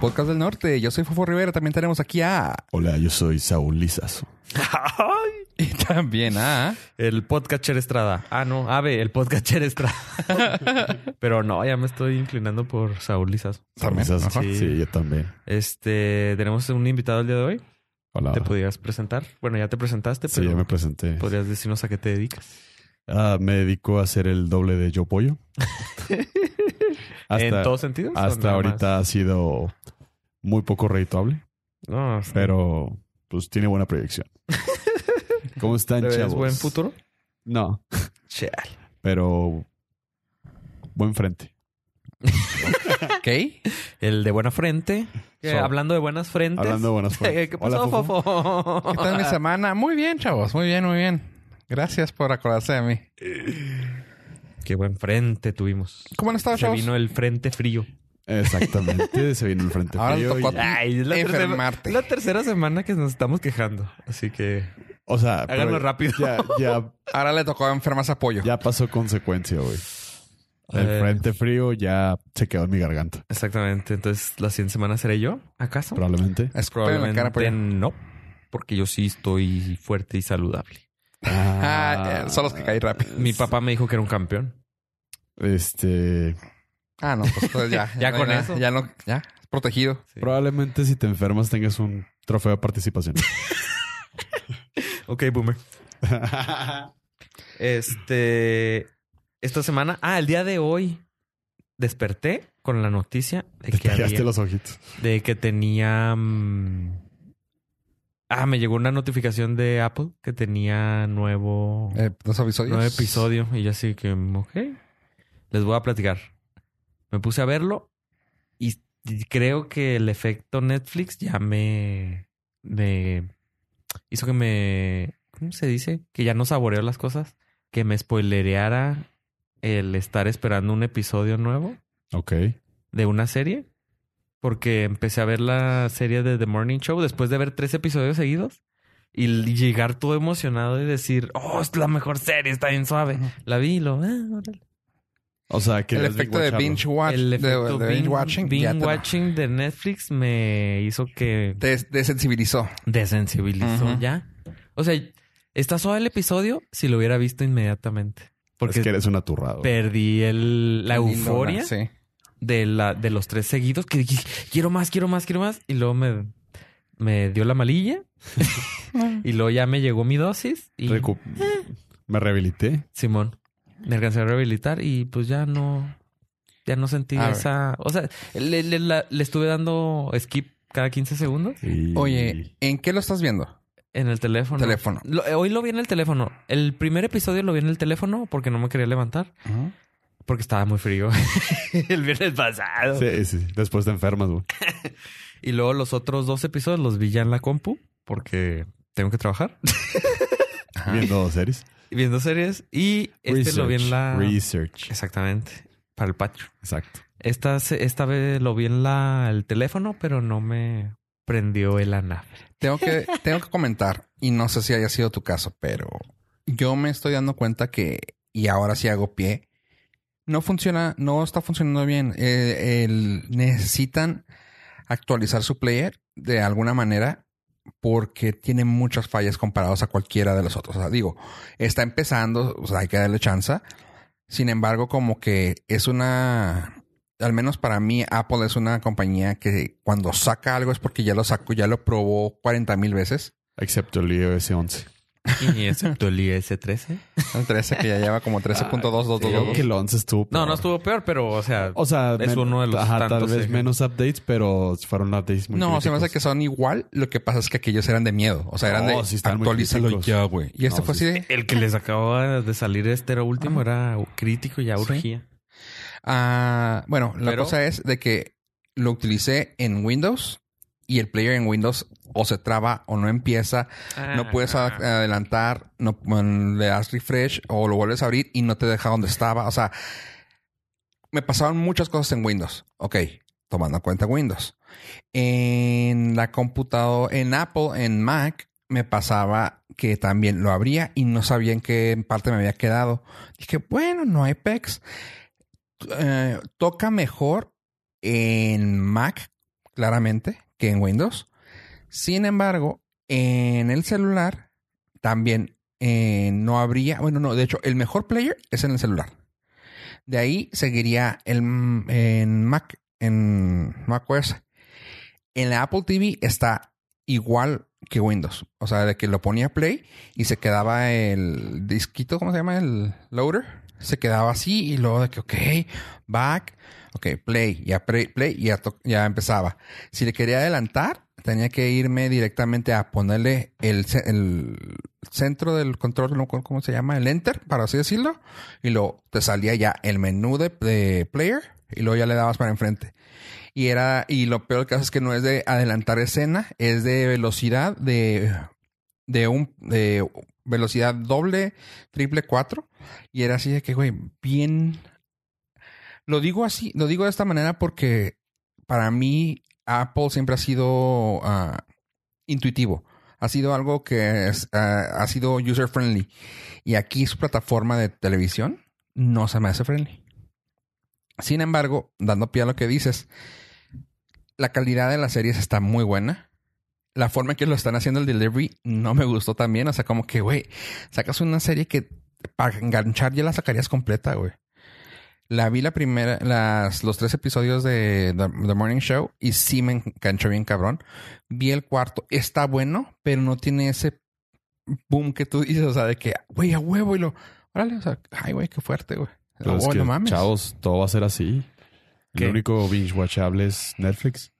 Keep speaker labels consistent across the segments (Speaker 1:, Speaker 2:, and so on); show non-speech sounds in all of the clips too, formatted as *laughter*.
Speaker 1: Podcast del Norte. Yo soy Fofo Rivera. También tenemos aquí a. *laughs*
Speaker 2: Hola, yo soy Saúl Lizazo.
Speaker 1: Y también a.
Speaker 3: El podcaster Estrada. Ah, no, Ave, el podcaster *laughs* Estrada. Pero no, ya me estoy inclinando por Saúl Lizazo.
Speaker 1: También.
Speaker 2: Lizazo.
Speaker 1: ajá.
Speaker 2: Sí. yo también.
Speaker 3: Este, tenemos un invitado el día de hoy.
Speaker 2: Hola.
Speaker 3: ¿Te pudieras presentar? Bueno, ya te presentaste,
Speaker 2: Sí,
Speaker 3: pero
Speaker 2: ya me presenté.
Speaker 3: podrías decirnos a qué te dedicas.
Speaker 2: Ah, me dedico a hacer el doble de Yo Pollo.
Speaker 3: *laughs*
Speaker 2: hasta
Speaker 3: ¿En todos sentidos? o
Speaker 2: hasta
Speaker 3: nada
Speaker 2: ahorita
Speaker 3: más?
Speaker 2: ha sido muy poco redituable,
Speaker 3: No, sí.
Speaker 2: pero pues tiene buena
Speaker 3: *laughs*
Speaker 2: proyección. ¿Cómo
Speaker 3: ¿Le
Speaker 2: están,
Speaker 3: ves
Speaker 2: chavos?
Speaker 3: buen futuro?
Speaker 2: No,
Speaker 3: Chale.
Speaker 2: pero buen
Speaker 3: *laughs*
Speaker 2: frente.
Speaker 1: Ok.
Speaker 3: El de buena frente. Que
Speaker 2: So-
Speaker 3: hablando de buenas frentes.
Speaker 2: Hablando de
Speaker 3: *laughs*
Speaker 2: buenas
Speaker 3: ¿Qué
Speaker 2: frentes.
Speaker 3: pasó,
Speaker 2: Hola, Fofo.
Speaker 3: Fofo?
Speaker 1: ¿Qué tal mi semana? Muy bien, chavos. Muy bien, muy bien. Gracias por acordarse de mí.
Speaker 3: Qué buen frente tuvimos.
Speaker 1: ¿Cómo han estado,
Speaker 3: Se
Speaker 1: chavos?
Speaker 3: vino el frente frío.
Speaker 2: Exactamente, se vino el frente
Speaker 1: Ahora le
Speaker 2: frío
Speaker 1: tocó a
Speaker 2: y-
Speaker 1: ti.
Speaker 3: Ay, es la,
Speaker 1: Enfermarte.
Speaker 3: tercera, la tercera semana que nos estamos quejando. Así que
Speaker 2: O sea, pero
Speaker 3: háganlo rápido.
Speaker 2: Ya, ya,
Speaker 1: Ahora le tocó a enfermas apoyo.
Speaker 2: ya pasó consecuencia, güey. El
Speaker 3: Eh,
Speaker 2: frente frío ya se quedó en mi garganta.
Speaker 3: Exactamente. Entonces, la siguiente semana seré yo, ¿acaso?
Speaker 2: Probablemente.
Speaker 1: Escúpeme en la
Speaker 3: Probablemente
Speaker 1: cara por allá.
Speaker 3: no, porque yo sí estoy fuerte y saludable.
Speaker 1: *laughs* Ah, eh, son los que caí rápido.
Speaker 3: Mi papá me dijo que era un campeón.
Speaker 2: Este.
Speaker 1: Ah, no, pues entonces
Speaker 3: *laughs*
Speaker 1: ya.
Speaker 3: Ya
Speaker 1: no hay
Speaker 3: con
Speaker 1: nada.
Speaker 3: eso.
Speaker 1: Ya no, ya. Protegido.
Speaker 3: Sí.
Speaker 2: Probablemente si te enfermas tengas un trofeo
Speaker 1: *laughs*
Speaker 2: de participación.
Speaker 3: Ok, boomer. Este. Esta semana. Ah, el día de hoy. Desperté con la noticia de
Speaker 2: te
Speaker 3: que,
Speaker 2: tallaste
Speaker 3: había-
Speaker 2: los ojitos.
Speaker 3: de que tenía. mm, Ah, me llegó una notificación de Apple que tenía nuevo.
Speaker 1: Eh, dos episodios.
Speaker 3: nuevo episodio y yo así que, mm, ok, les voy a platicar. Me puse a verlo y, y creo que el efecto Netflix ya me, me hizo que me, ¿cómo se dice? Que ya no saboreó las cosas, que me spoilereara el estar esperando un episodio nuevo
Speaker 2: Ok.
Speaker 3: de una serie. Porque empecé a ver la serie de The Morning Show después de ver tres episodios seguidos y l- llegar todo emocionado y decir, oh, es la mejor serie, está bien suave. La vi y lo. "Ah, órale".
Speaker 2: O sea, que
Speaker 1: El
Speaker 2: les
Speaker 1: efecto de
Speaker 2: guacharlo.
Speaker 1: binge watch.
Speaker 3: el
Speaker 1: de-
Speaker 3: efecto
Speaker 1: de, binge
Speaker 3: binge
Speaker 1: watching.
Speaker 3: binge
Speaker 1: ya te lo-
Speaker 3: watching de Netflix me hizo que
Speaker 1: Te desensibilizó.
Speaker 3: desensibilizó
Speaker 1: Ujú.
Speaker 3: ya. O sea, está suave el episodio si lo hubiera visto inmediatamente. Porque
Speaker 2: Es que eres un aturrado.
Speaker 3: perdí el- la
Speaker 1: Lindona,
Speaker 3: euforia.
Speaker 1: Sí.
Speaker 3: de, la, de los tres seguidos que dije, quiero más, quiero más, quiero más. Y luego me, me dio la malilla. y luego ya me llegó mi dosis. Y
Speaker 2: Recu- Me rehabilité.
Speaker 3: Simón, me alcancé a rehabilitar y pues ya no, ya no sentí
Speaker 1: A ver.
Speaker 3: esa... O sea, le, le- la- le estuve dando skip cada 15 segundos
Speaker 2: y-
Speaker 1: Oye, ¿en qué lo estás viendo?
Speaker 3: en el teléfono.
Speaker 1: Teléfono.
Speaker 3: Lo- eh, hoy lo vi en el teléfono. El primer episodio lo vi en el teléfono porque no me quería levantar. Porque estaba muy frío *laughs* el viernes pasado.
Speaker 2: Sí, sí. Después te enfermas, güey.
Speaker 3: Y luego los otros dos episodios los vi ya en la compu porque tengo que trabajar *laughs*
Speaker 1: Ajá.
Speaker 2: Viendo series.
Speaker 3: viendo series y Ah. este lo vi en la
Speaker 2: Research.
Speaker 3: exactamente para el patio.
Speaker 2: Exacto.
Speaker 3: Esta se- esta vez lo vi en la el teléfono, pero no me prendió el ANA.
Speaker 1: Tengo que, tengo que comentar, y no sé si haya sido tu caso, pero yo me estoy dando cuenta que, y ahora sí hago pie, no funciona, no está funcionando bien. Eh, el- necesitan actualizar su player de alguna manera porque tiene muchas fallas comparados a cualquiera de los otros. O sea, digo, está empezando, o sea, hay que darle chance. Sin embargo, como que es una, al menos para mí, Apple es una compañía que cuando saca algo es porque ya lo sacó, ya lo probó 40 mil veces.
Speaker 2: Excepto el iOS 11.
Speaker 3: Y *laughs* excepto el IS-13.
Speaker 1: El 13 que ya lleva como
Speaker 2: *laughs*
Speaker 1: 13.222.
Speaker 2: Creo que el 11 estuvo.
Speaker 3: No,
Speaker 2: peor.
Speaker 3: no estuvo peor, pero o sea,
Speaker 2: O sea,
Speaker 3: Es uno de los
Speaker 2: ajá, tal
Speaker 3: tantos
Speaker 2: vez
Speaker 3: ejemplos.
Speaker 2: menos updates, pero fueron updates muy
Speaker 1: No, se me hace que
Speaker 2: críticos.
Speaker 1: son igual. Lo que pasa es que aquellos eran de miedo. O sea, eran
Speaker 2: No,
Speaker 1: de
Speaker 2: sí están muy
Speaker 1: actualízalo
Speaker 2: críticos.
Speaker 1: ya, güey. Y este
Speaker 2: No,
Speaker 1: fue
Speaker 2: sí.
Speaker 1: así de...
Speaker 3: el que les acababa de salir este era último era crítico y ya
Speaker 1: Sí.
Speaker 3: urgía.
Speaker 1: Ah, bueno, la
Speaker 3: Pero-
Speaker 1: cosa es de que lo utilicé en Windows y el player en Windows o se traba o no empieza,
Speaker 3: Ah.
Speaker 1: no puedes ad- adelantar, no mm, le das refresh o lo vuelves a abrir y no te deja donde estaba. O sea, me pasaron muchas cosas en Windows. Ok, tomando en cuenta Windows. En la computadora, en Apple, en Mac, me pasaba que también lo abría y no sabía en qué parte me había quedado. Dije, bueno, no hay pex. Eh, toca mejor en Mac claramente, que en Windows. Sin embargo, en el celular también eh, no habría, bueno, no, de hecho, el mejor player es en el celular. De ahí seguiría el, en Mac, en macOS. En la Apple TV está igual que Windows. O sea, de que lo ponía play y se quedaba el disquito, ¿cómo se llama? El loader. Se quedaba así y luego de que, ok, back, ok, play, ya play, play y ya, to- ya empezaba. Si le quería adelantar, tenía que irme directamente a ponerle el, ce- el centro del control, no recuerdo ¿cómo se llama? El enter, para así decirlo. Y luego te salía ya el menú de, de player y luego ya le dabas para enfrente. Y era, y lo peor del caso es que no es de adelantar escena, es de velocidad de, de un, de velocidad doble, triple cuatro. Y era así de que, güey, bien. Lo digo así, lo digo de esta manera porque para mí Apple siempre ha sido ah, intuitivo. Ha sido algo que es, ah, ha sido user friendly. Y aquí su plataforma de televisión no se me hace friendly. Sin embargo, dando pie a lo que dices, la calidad de las series está muy buena. La forma en que lo están haciendo el delivery no me gustó también. O sea, como que, güey, sacas una serie que para enganchar ya la sacarías completa, güey. La vi la primera, las, los tres episodios de The, The Morning Show y sí me enganchó bien cabrón. Vi el cuarto, está bueno, pero no tiene ese boom que tú dices, o sea, de que, güey, a huevo y lo, órale, o sea, ay, güey, qué fuerte, güey.
Speaker 2: Pero Pues es
Speaker 1: Oh,
Speaker 2: que,
Speaker 1: no mames.
Speaker 2: Chavos, todo va a ser así.
Speaker 3: ¿Qué?
Speaker 2: El único binge watchable es Netflix.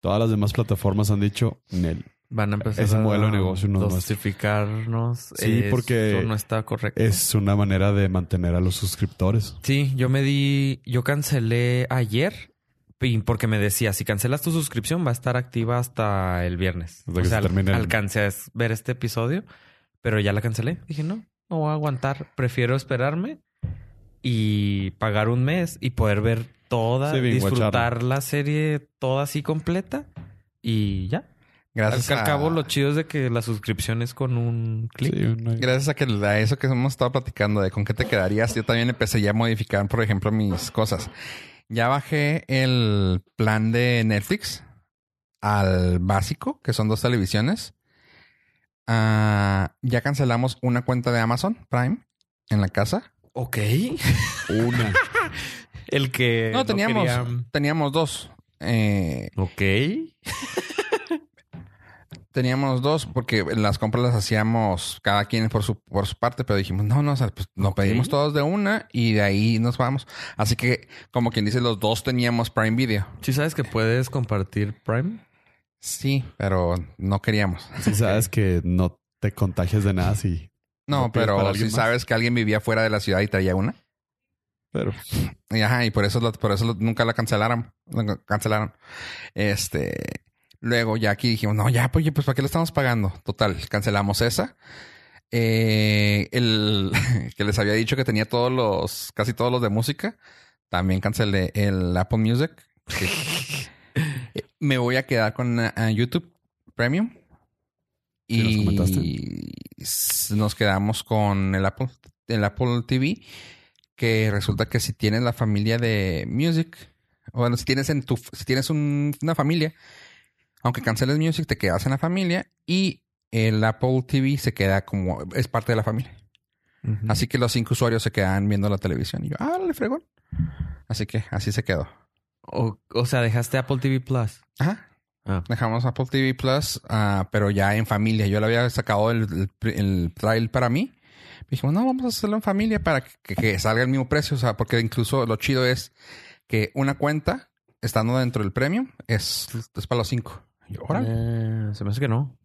Speaker 2: Todas las demás plataformas han dicho Nel.
Speaker 3: Van a empezar
Speaker 2: Ese
Speaker 3: a
Speaker 2: modelo de negocio no es nuestro.
Speaker 3: dosificarnos.
Speaker 2: Sí,
Speaker 3: Eso
Speaker 2: porque
Speaker 3: no está correcto.
Speaker 2: Es una manera de mantener a los suscriptores.
Speaker 3: Sí, yo me di, yo cancelé ayer y- porque me decía, si cancelas tu suscripción va a estar activa hasta el viernes.
Speaker 2: Hasta que
Speaker 3: o
Speaker 2: se
Speaker 3: sea, al-
Speaker 2: termine el-
Speaker 3: alcancé a es- ver este episodio, pero ya la cancelé. Dije, no, no voy a aguantar, prefiero esperarme y pagar un mes y poder ver toda,
Speaker 2: Sí, binge
Speaker 3: disfrutar
Speaker 2: watcharla.
Speaker 3: la serie toda así completa y ya. Al,
Speaker 1: Gracias
Speaker 3: al
Speaker 1: a-
Speaker 3: cabo, lo chido es de que la suscripción es con un clic.
Speaker 2: Sí, una-
Speaker 1: Gracias a, que, a eso que hemos estado platicando de con qué te quedarías, yo también empecé ya a modificar, por ejemplo, mis cosas. Ya bajé el plan de Netflix al básico, que son dos televisiones. Ah, ya cancelamos una cuenta de Amazon Prime en la casa.
Speaker 3: Ok. *laughs*
Speaker 2: una.
Speaker 3: El que...
Speaker 1: No, teníamos,
Speaker 3: Eh, quería- mm.
Speaker 1: teníamos dos. Eh,
Speaker 3: Ok.
Speaker 1: teníamos dos porque las compras las hacíamos cada quien por su, por su parte, pero dijimos, no, no, o sea, pues nos
Speaker 3: Ok.
Speaker 1: pedimos todos de una y de ahí nos vamos. Así que, como quien dice, los dos teníamos Prime Video.
Speaker 3: ¿Sí sabes que puedes compartir Prime?
Speaker 1: Sí, pero no queríamos. *laughs*
Speaker 2: Si sabes que no te contagias de nada, sí.
Speaker 1: No,
Speaker 2: ¿No pides para
Speaker 1: pero si
Speaker 2: alguien más?
Speaker 1: sabes que alguien vivía fuera de la ciudad y traía una.
Speaker 2: Pero
Speaker 1: Y, ajá, y por eso, lo- por eso lo- nunca la cancelaron. La ca- cancelaron. Este. Luego ya aquí dijimos, no, ya, pues, oye, pues, ¿para qué le estamos pagando? Total, cancelamos esa. Eh, el *laughs* que les había dicho que tenía todos los, casi todos los de música. También cancelé el Apple Music.
Speaker 2: *laughs*
Speaker 1: Sí. Eh, Me voy a quedar con eh, YouTube Premium.
Speaker 2: Sí, nos
Speaker 1: Y
Speaker 2: comentaste.
Speaker 1: s- nos quedamos con el Apple, el Apple TV que resulta que si tienes la familia de Music, o bueno, si tienes en tu, si tienes un- una familia, aunque canceles Music, te quedas en la familia y el Apple TV se queda como, es parte de la familia. Así que los cinco usuarios se quedan viendo la televisión. Y yo, ah, le fregón. Así que así se quedó.
Speaker 3: O, o sea, dejaste Apple TV Plus.
Speaker 1: Ajá.
Speaker 3: Ah.
Speaker 1: Dejamos Apple TV Plus, ah, pero ya en familia. Yo le había sacado el, el, pri- el trial para mí. Dijimos, no, vamos a hacerlo en familia para que, que- que salga el mismo precio. O sea, porque incluso lo chido es que una cuenta, estando dentro del premium, es, es para los cinco. Y yo, órale.
Speaker 3: Eh, se me hace que no.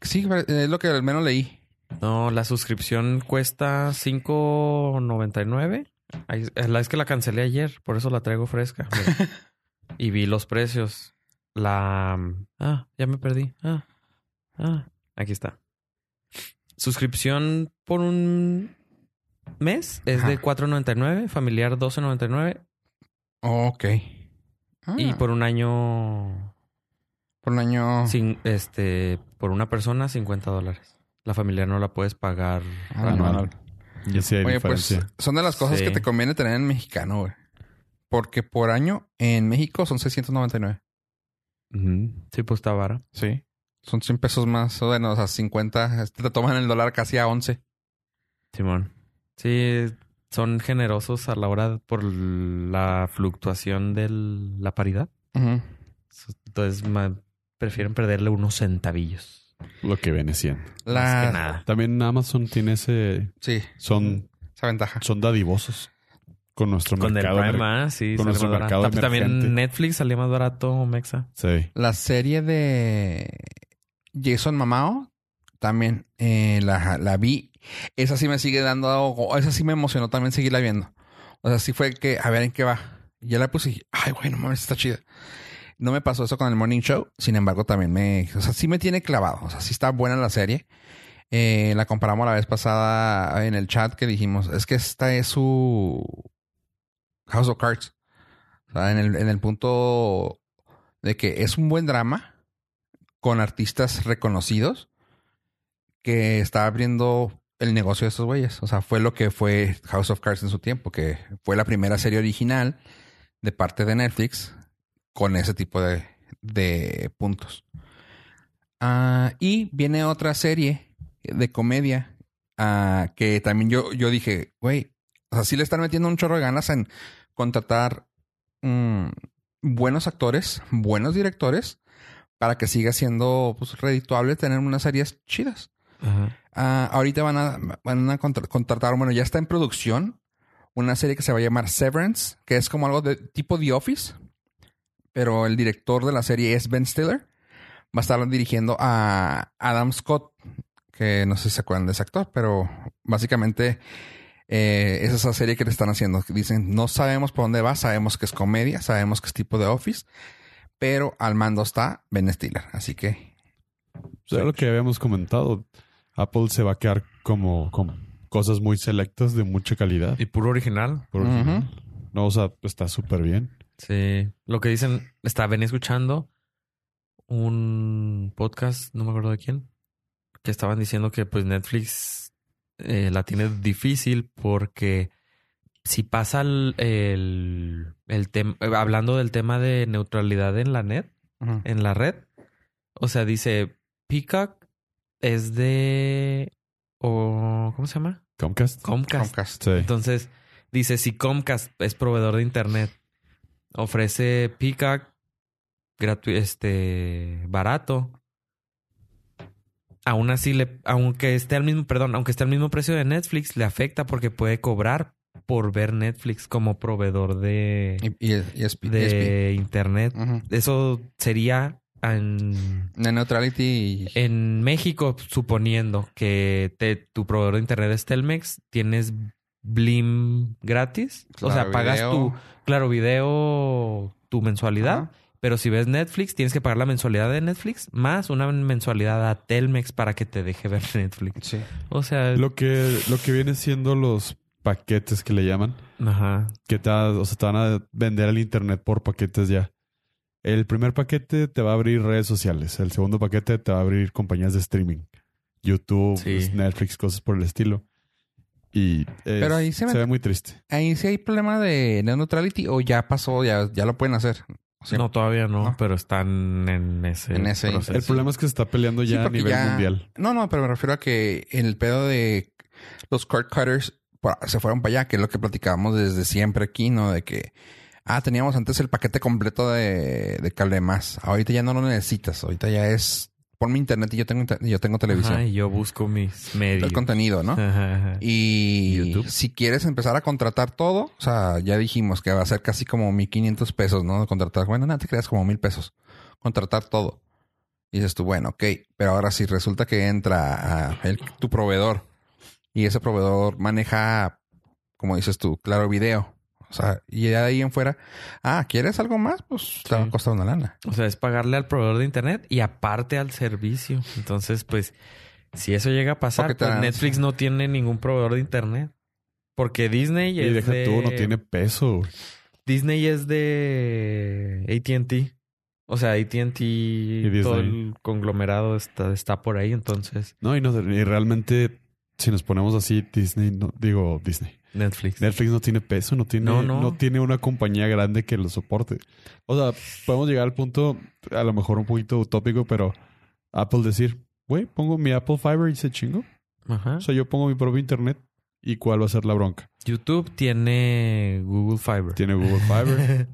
Speaker 1: Sí, pero es lo que al menos leí.
Speaker 3: No, la suscripción cuesta $5.99. Ahí- La es que la cancelé ayer, por eso la
Speaker 1: *laughs*
Speaker 3: traigo fresca. Mira. y vi los precios. La... Ah, ya me perdí. Ah, ah. Aquí está. Suscripción por un mes es de
Speaker 1: Ajá.
Speaker 3: $4.99, familiar $12.99
Speaker 1: Ok. Ah,
Speaker 3: y por un año
Speaker 1: por un año.
Speaker 3: Sin, este, por una persona, 50 dólares. La familia no la puedes pagar.
Speaker 1: Ah,
Speaker 2: anual.
Speaker 1: no, no.
Speaker 2: Y sí hay
Speaker 1: Oye, pues
Speaker 2: diferencia.
Speaker 1: son de las cosas
Speaker 3: Sí.
Speaker 1: que te conviene tener en mexicano, güey. Porque por año en México son 699.
Speaker 2: Ujú.
Speaker 3: Sí, pues está vara.
Speaker 4: Sí.
Speaker 1: Son 100 pesos más, o bueno, o sea, 50. Este te toman el dólar casi a 11.
Speaker 3: Simón. Sí, son generosos a la hora por la fluctuación de la paridad.
Speaker 1: Ujú.
Speaker 3: Entonces, ma- prefieren perderle unos centavillos.
Speaker 2: Lo que viene siendo.
Speaker 3: Más
Speaker 1: La-
Speaker 3: que nada.
Speaker 2: También Amazon tiene ese.
Speaker 1: Sí,
Speaker 2: Son,
Speaker 1: esa ventaja.
Speaker 2: son dadivosos con nuestro
Speaker 3: Con el
Speaker 2: mercado.
Speaker 3: Prime, ah, sí.
Speaker 2: con
Speaker 3: sale
Speaker 2: nuestro
Speaker 3: más barato.
Speaker 2: mercado emergente.
Speaker 3: También Netflix salía más barato, Mexa.
Speaker 2: Sí.
Speaker 1: La serie de Jason Mamao también eh, la, la vi. Esa sí me sigue dando algo. Esa sí me emocionó también seguirla viendo. O sea, sí fue que, a ver en qué va. Ya la puse y, ay, güey, no mames, está chida. No me pasó eso con el Morning Show. Sin embargo, también me. O sea, sí me tiene clavado. O sea, sí está buena la serie. Eh, la comparamos la vez pasada en el chat que dijimos, es que esta es su House of Cards. O sea, en el, en el punto de que es un buen drama con artistas reconocidos que está abriendo el negocio de estos güeyes. O sea, fue lo que fue House of Cards en su tiempo, que fue la primera serie original de parte de Netflix con ese tipo de, de puntos. Ah, y viene otra serie de comedia ah, que también yo, yo dije, güey, o sea, sí le están metiendo un chorro de ganas en contratar mm, buenos actores, buenos directores, para que siga siendo pues, redituable tener unas series chidas. Ah, ahorita van a, van a contra- contratar, bueno, ya está en producción una serie que se va a llamar Severance, que es como algo de tipo The Office, pero el director de la serie es Ben Stiller. Va a estar dirigiendo a Adam Scott, que no sé si se acuerdan de ese actor, pero básicamente eh, es esa serie que le están haciendo. que Dicen, no sabemos por dónde va, sabemos que es comedia, sabemos que es tipo de Office, pero al mando está Ben Stiller. Así que,
Speaker 2: Pues era lo que habíamos comentado. Apple se va a quedar como con cosas muy selectas de mucha calidad.
Speaker 3: Y puro original.
Speaker 2: Por ejemplo. No, o sea, está súper bien.
Speaker 3: Sí. Lo que dicen, está, venía escuchando un podcast, no me acuerdo de quién, que estaban diciendo que pues Netflix eh, la tiene difícil porque si pasa el, el, tema, hablando del tema de neutralidad en la net,
Speaker 1: ujú.
Speaker 3: en la red, o sea, dice Peacock es de, o, ¿cómo se llama?
Speaker 2: Comcast.
Speaker 3: Comcast.
Speaker 1: Comcast.
Speaker 2: Sí.
Speaker 3: Entonces, dice, si Comcast es proveedor de internet, ofrece Peacock gratu- este barato. Aún así le, aunque esté al mismo, perdón, aunque esté al mismo precio de Netflix, le afecta porque puede cobrar por ver Netflix como proveedor de,
Speaker 1: Y, y- y ESP.
Speaker 3: de internet.
Speaker 1: Ujú.
Speaker 3: Eso sería en,
Speaker 1: De neutrality y-
Speaker 3: en México, suponiendo que te- tu proveedor de internet es Telmex, tienes Blim gratis. o sea,
Speaker 1: Claro
Speaker 3: pagas
Speaker 1: Video.
Speaker 3: tu, claro, video, tu mensualidad.
Speaker 1: Ajá.
Speaker 3: Pero si ves Netflix, tienes que pagar la mensualidad de Netflix más una mensualidad a Telmex para que te deje ver Netflix.
Speaker 1: Sí.
Speaker 3: O sea,
Speaker 2: Lo que, lo que viene siendo los paquetes que le llaman,
Speaker 3: ajá.
Speaker 2: que te, va- o sea, te van a vender el internet por paquetes ya. El primer paquete te va a abrir redes sociales. El segundo paquete te va a abrir compañías de streaming. YouTube,
Speaker 3: Sí.
Speaker 2: pues, Netflix, cosas por el estilo. Y es-
Speaker 1: Pero ahí se me-
Speaker 2: ve muy triste.
Speaker 1: Ahí sí hay problema de net neutrality o ya pasó, ya, ya lo pueden hacer. O sea,
Speaker 3: no, todavía no,
Speaker 1: No.
Speaker 3: pero están en ese,
Speaker 1: Ah. En ese
Speaker 3: proceso.
Speaker 2: El problema es que se está peleando
Speaker 1: sí,
Speaker 2: ya a
Speaker 1: porque
Speaker 2: nivel
Speaker 1: ya-
Speaker 2: mundial.
Speaker 1: No, no, pero me refiero a que el pedo de los cord cutters pa- se fueron para allá, que es lo que platicábamos desde siempre aquí, ¿no? De que, ah, teníamos antes el paquete completo de, de cable más. Ahorita ya no lo necesitas. Ahorita ya es, ponme internet y yo tengo, inter- y yo tengo televisión.
Speaker 3: Ajá, y yo busco mis medios.
Speaker 1: el contenido, ¿no?
Speaker 3: Ajá, ajá.
Speaker 1: Y
Speaker 3: YouTube.
Speaker 1: si quieres empezar a contratar todo, o sea, ya dijimos que va a ser casi como 1500 pesos, ¿no? Contratar, bueno, nada, te creas como 1000 pesos. Contratar todo. Y dices tú, bueno, ok, pero ahora si resulta que entra a el- tu proveedor y ese proveedor maneja, como dices tú, claro, video. O sea, y ya de ahí en fuera, ah, ¿quieres algo más? Pues te va a
Speaker 3: Sí.
Speaker 1: costar una lana.
Speaker 3: O sea, es pagarle al proveedor de internet y aparte al servicio. Entonces, pues, si eso llega a pasar,
Speaker 1: Porque te
Speaker 3: pues,
Speaker 1: dan-
Speaker 3: Netflix no tiene ningún proveedor de internet. Porque Disney
Speaker 2: Y,
Speaker 3: es
Speaker 2: deja
Speaker 3: de...
Speaker 2: tú, no tiene peso. güey.
Speaker 3: Disney es de AT&T. O sea, AT&T, todo
Speaker 2: Disney.
Speaker 3: el conglomerado está, está por ahí. Entonces,
Speaker 2: No, y, no, y realmente, si nos ponemos así, Disney, no, digo Disney,
Speaker 3: Netflix.
Speaker 2: Netflix no tiene peso, no tiene,
Speaker 3: No,
Speaker 2: no,
Speaker 3: no.
Speaker 2: tiene una compañía grande que lo soporte. O sea, podemos llegar al punto, a lo mejor un poquito utópico, pero Apple decir, güey, pongo mi Apple Fiber y se chingo.
Speaker 3: Ajá.
Speaker 2: O sea, yo pongo mi propio internet y cuál va a ser la bronca.
Speaker 3: YouTube tiene Google Fiber.
Speaker 2: Tiene Google
Speaker 3: *laughs*
Speaker 2: Fiber,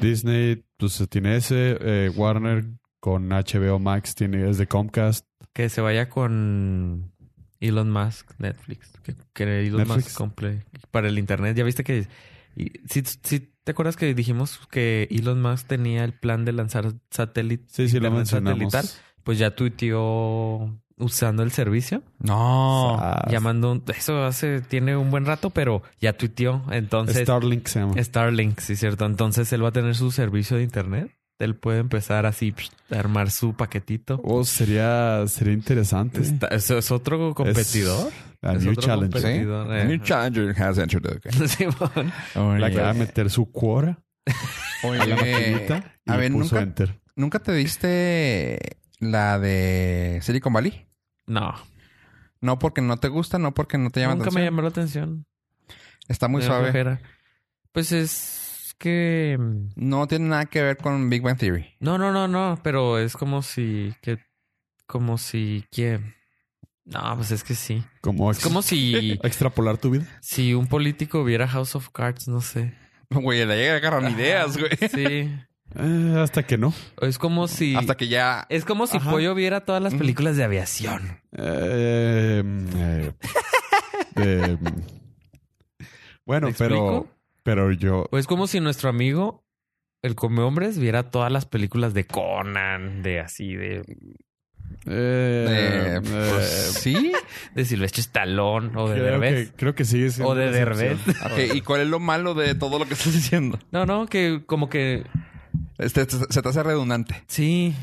Speaker 2: Disney, pues tiene ese, eh, Warner con HBO Max tiene, es de Comcast.
Speaker 3: que se vaya con Elon Musk, Netflix. Que, que Elon
Speaker 2: Netflix.
Speaker 3: Musk compre para el internet. Ya viste que. y- si, si te acuerdas que dijimos que Elon Musk tenía el plan de lanzar satélites.
Speaker 2: Sí, sí, lo
Speaker 3: Internet
Speaker 2: mencionamos.
Speaker 3: satelital. Pues ya tuiteó usando el servicio.
Speaker 1: No.
Speaker 2: Ah,
Speaker 3: llamando. un- eso hace. Tiene un buen rato, pero ya tuiteó. Entonces.
Speaker 2: Starlink se llama.
Speaker 3: Starlink, sí, cierto. Entonces él va a tener su servicio de internet. Él puede empezar así psh, a armar su paquetito.
Speaker 2: Oh, sería, sería interesante.
Speaker 3: Está- eso es otro competidor. *laughs*
Speaker 2: A
Speaker 3: Es
Speaker 2: new
Speaker 3: otro
Speaker 2: challenge.
Speaker 1: ¿Sí?
Speaker 3: Perdido, eh. Oh,
Speaker 1: A new challenger has entered the game.
Speaker 3: Simón.
Speaker 2: La
Speaker 1: Oye,
Speaker 2: que va a meter su cuora a la
Speaker 1: oye,
Speaker 2: maquinita y
Speaker 1: Eh, a ver,
Speaker 2: le puso
Speaker 1: nunca-
Speaker 2: enter.
Speaker 1: ¿nunca te diste la de Silicon Valley?
Speaker 3: No,
Speaker 1: No porque no te gusta, no porque no te llama la
Speaker 3: nunca me
Speaker 1: atención.
Speaker 3: llamó la atención.
Speaker 1: Está muy
Speaker 3: Me da
Speaker 1: suave.
Speaker 3: flojera. Pues es que mm,
Speaker 1: No tiene nada que ver con Big Bang Theory. *laughs*
Speaker 3: no, no, no, no, pero es como si que como si que no, pues es que sí.
Speaker 2: Como,
Speaker 3: Es como si
Speaker 1: *laughs*
Speaker 2: extrapolar tu vida.
Speaker 3: si un político viera House of Cards, no sé.
Speaker 1: Güey, le agarran ideas, güey.
Speaker 3: Sí.
Speaker 2: Eh, hasta que no.
Speaker 3: O Es como si
Speaker 1: Hasta que ya...
Speaker 3: es como si
Speaker 2: Ajá.
Speaker 3: Pollo viera todas las películas de aviación.
Speaker 2: Eh, eh, de- bueno,
Speaker 3: ¿Me
Speaker 2: pero,
Speaker 3: explico?
Speaker 2: pero yo.
Speaker 3: O es como si nuestro amigo el come hombres viera todas las películas de Conan, de así de
Speaker 2: eh,
Speaker 1: eh, pues,
Speaker 2: eh,
Speaker 1: sí.
Speaker 3: de Silvestre Stallone o de
Speaker 2: creo,
Speaker 3: Derbez.
Speaker 2: que, creo que sigue siendo
Speaker 3: O de
Speaker 2: una excepción.
Speaker 3: Derbez.
Speaker 1: Ok, ¿y cuál es lo malo de todo lo que estás diciendo?
Speaker 3: *laughs* No, no, que como que
Speaker 1: Este, este, se te hace redundante.
Speaker 3: sí,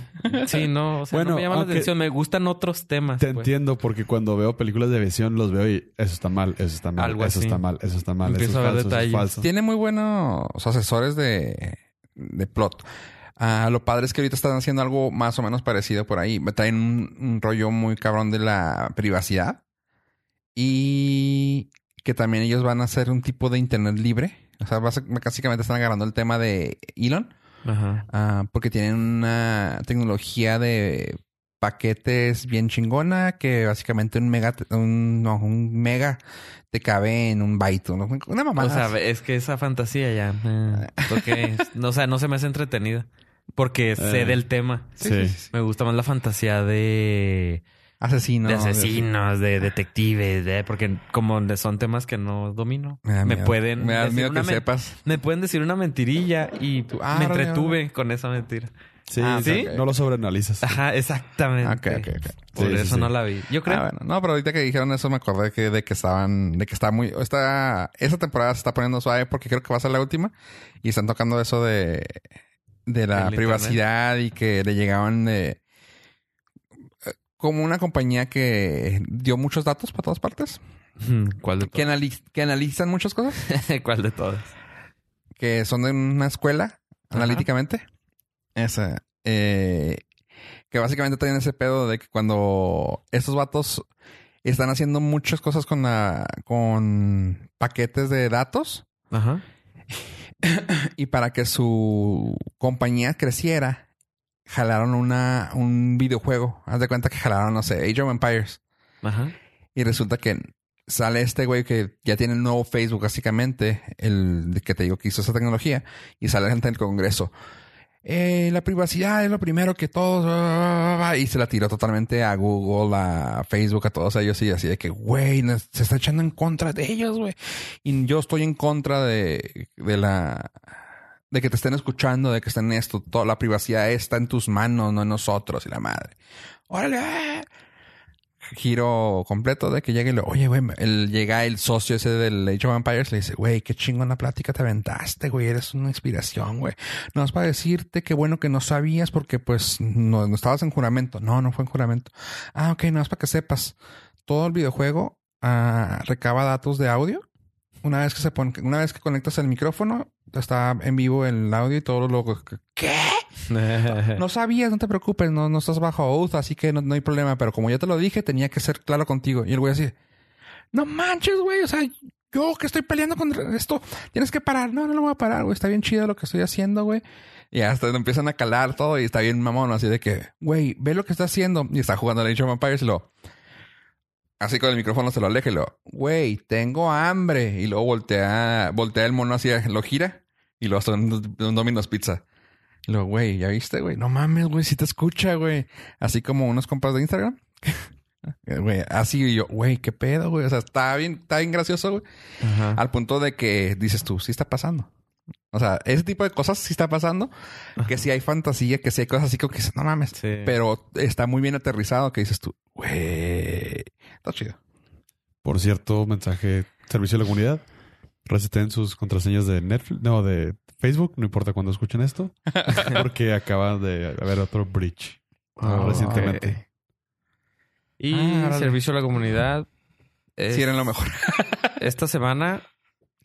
Speaker 3: sí, no, o sea,
Speaker 2: Bueno,
Speaker 3: no me llama la
Speaker 2: aunque-
Speaker 3: atención, me gustan otros
Speaker 2: *laughs*
Speaker 3: temas.
Speaker 2: Te
Speaker 3: pues.
Speaker 2: entiendo porque cuando veo películas de visión los veo y eso está mal, eso está mal,
Speaker 3: Algo
Speaker 2: eso
Speaker 3: así.
Speaker 2: está mal, eso está mal, eso es
Speaker 3: Empiezo a ver
Speaker 2: falso, eso es
Speaker 3: detalles.
Speaker 2: falso.
Speaker 1: Tiene muy buenos asesores de, de plot. Ah, lo padre es que ahorita están haciendo algo más o menos parecido por ahí. Me Traen un, un rollo muy cabrón de la privacidad. Y que también ellos van a hacer un tipo de internet libre. O sea, basi- básicamente están agarrando el tema de Elon.
Speaker 3: Ajá.
Speaker 1: ah, porque tienen una tecnología de paquetes bien chingona que básicamente un mega, un, no, un mega te cabe en un byte. ¿no? Una mamada.
Speaker 3: O sea, es que esa fantasía ya,
Speaker 1: *laughs*
Speaker 3: eh, porque, no, o sea, no se me hace entretenida, porque sé
Speaker 2: Eh.
Speaker 3: del tema.
Speaker 1: Sí,
Speaker 2: Sí.
Speaker 1: sí, sí, sí.
Speaker 3: Me gusta más la fantasía de,
Speaker 1: Asesino.
Speaker 3: de asesinos, de detectives, de, porque como son temas que no domino,
Speaker 1: da
Speaker 3: me,
Speaker 1: miedo.
Speaker 3: pueden
Speaker 1: Me da
Speaker 3: decir
Speaker 1: miedo
Speaker 3: una
Speaker 1: que
Speaker 3: men-
Speaker 1: sepas.
Speaker 3: me pueden decir una mentirilla y
Speaker 1: Tú, ah,
Speaker 3: me
Speaker 1: órale,
Speaker 3: entretuve con esa mentira.
Speaker 2: Sí,
Speaker 1: Ah,
Speaker 2: sí,
Speaker 1: ok,
Speaker 2: no lo sobreanalizas.
Speaker 3: Ajá, exactamente.
Speaker 1: Ok, ok, ok.
Speaker 3: Por
Speaker 2: Sí, sí,
Speaker 3: eso
Speaker 2: sí.
Speaker 3: no la vi. Yo creo.
Speaker 1: Ah, bueno. No, pero ahorita que dijeron eso me acordé que, de que estaban, de que está muy, está, esa temporada se está poniendo suave porque creo que va a ser la última y están tocando eso de, de la
Speaker 3: Del
Speaker 1: privacidad y que le llegaban de, eh, como una compañía que dio muchos datos para todas partes,
Speaker 3: Hmm, *laughs* ¿Cuál de
Speaker 1: que,
Speaker 3: todas?
Speaker 1: anali- que analizan muchas cosas,
Speaker 3: *laughs* ¿Cuál de todas?
Speaker 1: que son de una escuela
Speaker 3: Ajá.
Speaker 1: analíticamente. Esa. eh, que básicamente tienen ese pedo de que cuando estos vatos están haciendo muchas cosas con la, con paquetes de datos
Speaker 3: Ajá.
Speaker 1: y para que su compañía creciera, jalaron una, un videojuego. Haz de cuenta que jalaron, no sé, Age of Empires.
Speaker 3: *laughs* Ajá.
Speaker 1: Y resulta que sale este güey que ya tiene el nuevo Facebook, básicamente, el de que te digo que hizo esa tecnología, y sale gente del Congreso. "Eh, la privacidad es lo primero que todos. bla, bla, bla, bla", Y se la tiró totalmente a Google, a Facebook, a todos ellos. Y así de que, güey, nos- se está echando en contra de ellos, güey. Y yo estoy en contra de, de la. de que te estén escuchando, de que estén esto. Toda la privacidad está en tus manos, no en nosotros y la madre. ¡Órale! ah! giro completo de que llegue y le, oye, güey, el, llega el socio ese del Age of Empires, le dice, güey, qué chingona plática te aventaste, güey, eres una inspiración, güey. No es para decirte que bueno que no sabías porque pues no, no estabas en juramento. No, no fue en juramento. Ah, ok, no es para que sepas. Todo el videojuego ah, recaba datos de audio. Una vez que se pone, una vez que conectas el micrófono, está en vivo el audio y todo lo que
Speaker 3: *laughs*
Speaker 1: no sabías, no te preocupes, no, no estás bajo oath, así que no, no hay problema. Pero como ya te lo dije, tenía que ser claro contigo. Y el güey así, no manches, güey, o sea, yo que estoy peleando contra esto, tienes que parar. No, no lo voy a parar, güey. Está bien chido lo que estoy haciendo, güey. Y hasta lo empiezan a calar todo y está bien mamón, así de que, güey, ve lo que está haciendo. Y está jugando a Age of Empires y lo. Así con el micrófono se lo aleja y lo, güey, tengo hambre. Y luego voltea, voltea el mono así, lo gira y lo hace un, un Domino's Pizza. Y luego, güey, ¿ya viste, güey? No mames, güey, si te escucha, güey. Así como unos compas de Instagram. *laughs* Eh, Güey, así y yo, güey, qué pedo, güey. O sea, está bien, está bien gracioso, güey.
Speaker 3: Ajá.
Speaker 1: Al punto de que dices tú, sí está pasando. O sea, ese tipo de cosas sí está pasando. Que sí hay fantasía, que sí hay cosas así como que dices, no mames.
Speaker 3: Sí.
Speaker 1: Pero está muy bien aterrizado que dices tú, güey, está chido.
Speaker 2: Por cierto, mensaje, servicio a la comunidad. Reseten sus contraseñas de Netflix, no, de Facebook, no importa cuando escuchen
Speaker 3: *laughs*
Speaker 2: esto, porque acaba de haber otro breach ah,
Speaker 3: Oh,
Speaker 2: recientemente.
Speaker 1: ok.
Speaker 3: Y
Speaker 1: Ah, órale.
Speaker 3: servicio a la comunidad.
Speaker 1: Si
Speaker 3: Es-
Speaker 1: eran lo mejor.
Speaker 3: Esta semana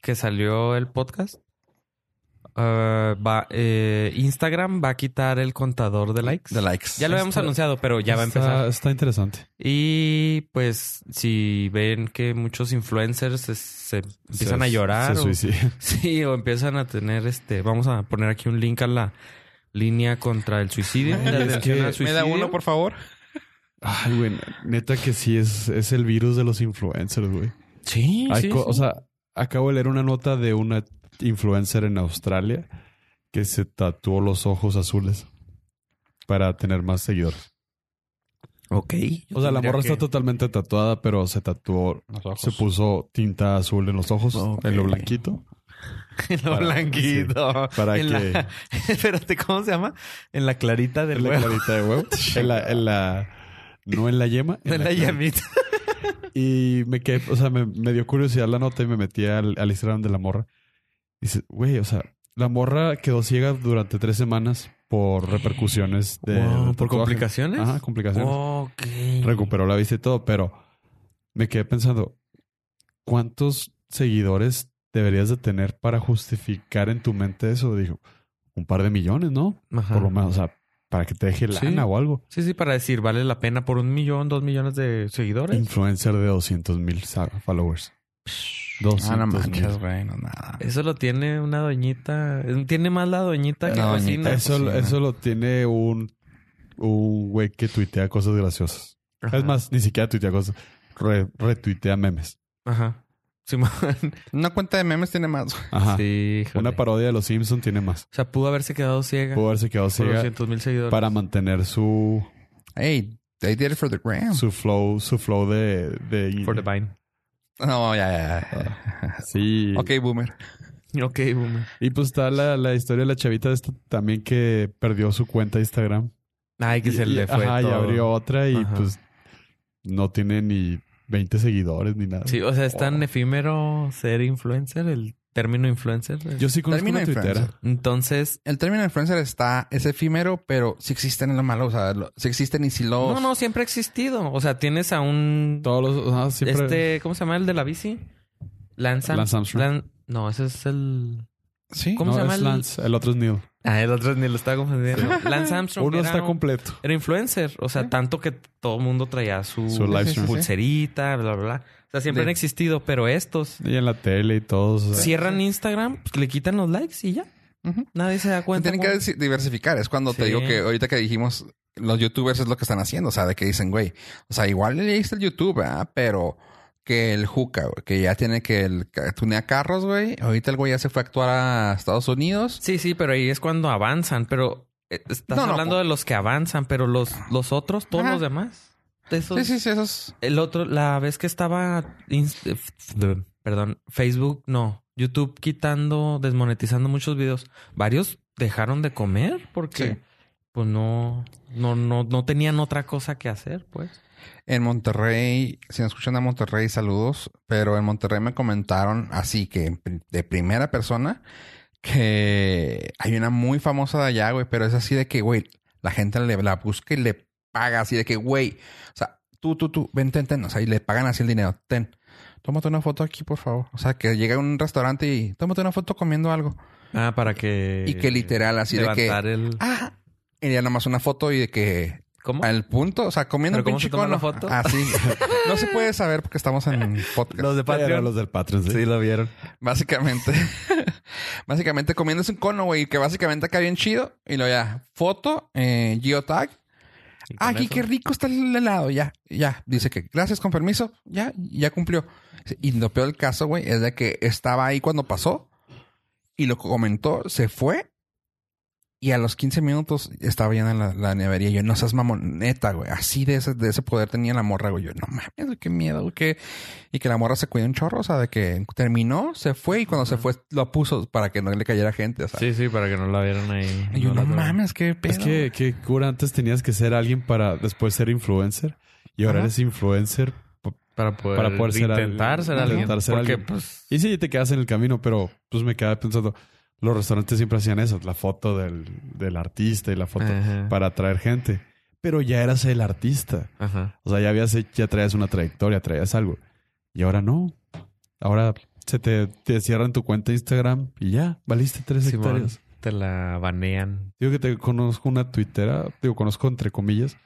Speaker 3: que salió el podcast, ah, va- eh, Instagram va a quitar el contador de likes.
Speaker 1: De likes.
Speaker 3: Ya lo habíamos
Speaker 2: Está-
Speaker 3: anunciado, pero ya va a
Speaker 2: Está-
Speaker 3: empezar.
Speaker 2: Está interesante.
Speaker 3: Y pues si ven que muchos influencers se, se empiezan
Speaker 2: Se-
Speaker 3: a llorar.
Speaker 2: Se
Speaker 3: o-
Speaker 2: suicida. *laughs*
Speaker 3: sí, o empiezan a tener este... Vamos a poner aquí un link a la línea contra el suicidio.
Speaker 2: Ay,
Speaker 3: la
Speaker 2: es
Speaker 3: atención
Speaker 1: Me
Speaker 2: que-
Speaker 3: al
Speaker 1: da
Speaker 3: suicidio.
Speaker 1: uno, por favor.
Speaker 2: Ay, güey, neta que sí es, es el virus de los influencers, güey.
Speaker 3: Sí,
Speaker 2: Hay
Speaker 3: sí,
Speaker 2: co-
Speaker 3: sí.
Speaker 2: O sea, acabo de leer una nota de una influencer en Australia que se tatuó los ojos azules para tener más seguidores.
Speaker 3: ok.
Speaker 2: O sea, la
Speaker 3: Tendría
Speaker 2: morra
Speaker 3: que-
Speaker 2: está totalmente tatuada, pero se tatuó, se
Speaker 1: Ah,
Speaker 2: puso tinta azul en los ojos,
Speaker 1: Ok.
Speaker 2: en lo blanquito.
Speaker 3: En lo
Speaker 2: Para-
Speaker 3: blanquito.
Speaker 2: para *laughs*
Speaker 3: En
Speaker 2: que-
Speaker 3: la- *laughs* espérate, ¿cómo se llama? En la clarita del
Speaker 2: En la
Speaker 3: huevo.
Speaker 2: clarita de huevo. en la, en la- no en la yema. en
Speaker 3: En
Speaker 2: la
Speaker 3: la
Speaker 2: clara-
Speaker 3: llamita.
Speaker 2: Y me quedé, o sea, me, me dio curiosidad la nota y me metí al, al Instagram de la morra. Dice, güey, o sea, la morra quedó ciega durante tres semanas por repercusiones de.
Speaker 3: Wow,
Speaker 2: del
Speaker 3: ¿Por
Speaker 2: tatuaje.
Speaker 3: complicaciones?
Speaker 2: Ajá, complicaciones.
Speaker 3: Ok.
Speaker 2: recuperó la vista y todo, pero me quedé pensando, ¿cuántos seguidores deberías de tener para justificar en tu mente eso? Dijo, un par de millones, ¿no?
Speaker 3: Ajá.
Speaker 2: Por lo menos, o sea, para que te deje lana
Speaker 3: Sí.
Speaker 2: o algo.
Speaker 3: Sí, sí, para decir, vale la pena por un millón, dos millones de seguidores.
Speaker 2: Influencer de 200 mil followers.
Speaker 1: Ah, no
Speaker 2: 200
Speaker 1: manches, güey, no nada.
Speaker 3: Eso lo tiene una doñita. Tiene más la doñita que
Speaker 1: La
Speaker 3: la
Speaker 1: doñita.
Speaker 3: vecina.
Speaker 2: Eso,
Speaker 1: Cocina.
Speaker 2: eso lo tiene un, un güey que tuitea cosas graciosas.
Speaker 3: Ajá.
Speaker 2: Es más, ni siquiera tuitea cosas. re- retuitea memes.
Speaker 3: Ajá. *laughs* Simón.
Speaker 1: Una cuenta de memes tiene más. güey.
Speaker 2: Ajá.
Speaker 3: Sí, híjole.
Speaker 2: Una parodia de los Simpson tiene más.
Speaker 3: O sea, pudo haberse quedado ciega.
Speaker 2: Pudo haberse quedado
Speaker 3: por
Speaker 2: ciega
Speaker 3: 200 mil seguidores.
Speaker 2: para mantener su,
Speaker 1: Hey, they did it for the gram.
Speaker 2: su flow, su flow de, de
Speaker 3: For the
Speaker 2: *laughs*
Speaker 3: Vine.
Speaker 1: No, ya, ya,
Speaker 2: Sí.
Speaker 1: ya. Ok, boomer.
Speaker 3: Ok, boomer.
Speaker 2: Y pues está la, la historia de la chavita esta también que perdió su cuenta de Instagram.
Speaker 3: Ay, que se
Speaker 2: Y-
Speaker 3: le
Speaker 2: y-
Speaker 3: fue
Speaker 2: ajá, y
Speaker 3: todo.
Speaker 2: abrió otra y
Speaker 3: Ajá.
Speaker 2: pues no tiene ni 20 seguidores ni nada.
Speaker 3: Sí, o sea, es tan
Speaker 2: Oh.
Speaker 3: efímero ser influencer, el término influencer.
Speaker 2: Yo sí conozco
Speaker 1: Termina
Speaker 2: una
Speaker 1: influencer.
Speaker 2: tuitera.
Speaker 3: Entonces,
Speaker 1: El término influencer está, es efímero, pero si existen en lo malo, o sea, lo- si existen y si los...
Speaker 3: no, no, siempre ha existido. O sea, tienes a un...
Speaker 2: Todos los... ajá, siempre...
Speaker 3: Este, ¿cómo se llama el de la bici? Lance, Arm-
Speaker 2: Lance Armstrong.
Speaker 3: Lan- no, ese es el.
Speaker 1: Sí.
Speaker 3: ¿Cómo
Speaker 2: No,
Speaker 3: se llama
Speaker 2: es
Speaker 3: el-
Speaker 2: Lance, el otro es Neil.
Speaker 3: Ah, el otro ni lo estaba confundiendo. Lance Armstrong.
Speaker 2: Uno
Speaker 3: era,
Speaker 2: está
Speaker 3: un-
Speaker 2: completo.
Speaker 3: era influencer. O sea, tanto que todo el mundo traía su,
Speaker 2: Su
Speaker 1: sí,
Speaker 2: live
Speaker 1: sí,
Speaker 2: stream.
Speaker 1: sí.
Speaker 3: pulserita, bla, bla, bla. O sea, siempre
Speaker 1: De-
Speaker 3: han existido, pero estos
Speaker 2: Y en la tele y todos. o sea,
Speaker 3: cierran Instagram, pues, le quitan los likes y ya.
Speaker 1: Ujú.
Speaker 3: Nadie se da cuenta.
Speaker 1: Tienen que
Speaker 3: cómo-
Speaker 1: des- diversificar. Es cuando te
Speaker 3: Sí.
Speaker 1: digo que ahorita que dijimos, los youtubers es lo que están haciendo. O sea, de que dicen, güey, o sea, igual le diste el YouTube, ¿verdad? Pero que el Juca, güey, que ya tiene que el ca- tunea carros, güey. Ahorita el güey ya se fue a actuar a Estados Unidos.
Speaker 3: Sí, sí, pero ahí es cuando avanzan. Pero eh, estás
Speaker 1: No, no,
Speaker 3: hablando
Speaker 1: po-
Speaker 3: de los que avanzan, pero los, los otros, todos
Speaker 1: Ajá.
Speaker 3: los demás. Esos,
Speaker 1: Sí, sí, sí, esos.
Speaker 3: El otro, la vez que estaba, Inst- eh, f- de- perdón, Facebook, no, YouTube quitando, desmonetizando muchos videos, varios dejaron de comer porque
Speaker 1: Sí.
Speaker 3: pues no, no, no, no tenían otra cosa que hacer, pues.
Speaker 1: En Monterrey, si nos escuchan a Monterrey, saludos. Pero en Monterrey me comentaron así que en pri- de primera persona que hay una muy famosa de allá, güey, pero es así de que, güey, la gente le, la busca y le paga así de que, güey, o sea, tú, tú, tú, ven, ten, ten, o sea, y le pagan así el dinero, ten, tómate una foto aquí, por favor. O sea, que llega a un restaurante y tómate una foto comiendo algo.
Speaker 3: Ah, para que...
Speaker 1: Y que literal, así de que,
Speaker 3: levantar el...
Speaker 1: ah, y ya nomás una foto y de que
Speaker 3: ¿Cómo?
Speaker 1: Al punto, o sea, comiendo
Speaker 3: ¿Pero
Speaker 1: un
Speaker 3: cómo se
Speaker 1: pinche
Speaker 3: toma la
Speaker 1: cono.
Speaker 3: foto?
Speaker 1: Así. no se puede saber porque estamos en
Speaker 3: *laughs*
Speaker 1: podcast.
Speaker 3: Los de
Speaker 2: Pero
Speaker 3: Patreon.
Speaker 2: los del Patreon, sí.
Speaker 3: Sí, lo vieron.
Speaker 1: Básicamente. básicamente comiéndose un cono, güey. Que básicamente acá bien chido. Y luego ya. Foto, eh, geotag.
Speaker 3: Y con
Speaker 1: Ah, aquí
Speaker 3: eso-
Speaker 1: qué rico está el helado. Ya, ya. Dice que gracias, con permiso. Ya, ya cumplió. Y lo peor del caso, güey, es de que estaba ahí cuando pasó. Y lo comentó, se fue. Y a los 15 minutos estaba llena la, la nevería. Yo, no seas mamón, neta, güey. Así de ese, de ese poder tenía la morra, güey. Yo, no mames, güey, qué miedo, güey. qué- Y que la morra se cuidó un chorro, o sea, de que terminó, se fue y cuando se fue lo puso para que no le cayera gente, o sea.
Speaker 3: Sí, sí, para que no la vieran ahí.
Speaker 1: Y yo, no,
Speaker 3: la vieran.
Speaker 1: mames, qué pedo.
Speaker 2: Es que, que cura, antes tenías que ser alguien para después ser influencer. Y ahora
Speaker 1: Ajá.
Speaker 2: eres influencer.
Speaker 3: Para poder,
Speaker 2: Para poder ser alguien.
Speaker 3: intentar ser
Speaker 2: Intentar
Speaker 3: alguien.
Speaker 2: ser
Speaker 3: porque,
Speaker 2: alguien.
Speaker 3: pues,
Speaker 2: Y sí, te quedas en el camino, pero pues me quedaba pensando. Los restaurantes siempre hacían eso, la foto del, del artista y la foto
Speaker 3: Ajá.
Speaker 2: para atraer gente. Pero ya eras el artista.
Speaker 3: Ajá.
Speaker 2: O sea, ya habías hecho- ya traías una trayectoria, traías algo. Y ahora no. Ahora se te, te cierran tu cuenta de Instagram y ya, valiste tres
Speaker 3: Simón,
Speaker 2: hectáreas.
Speaker 3: te la banean.
Speaker 2: Digo que te conozco una tuitera, digo, conozco entre comillas,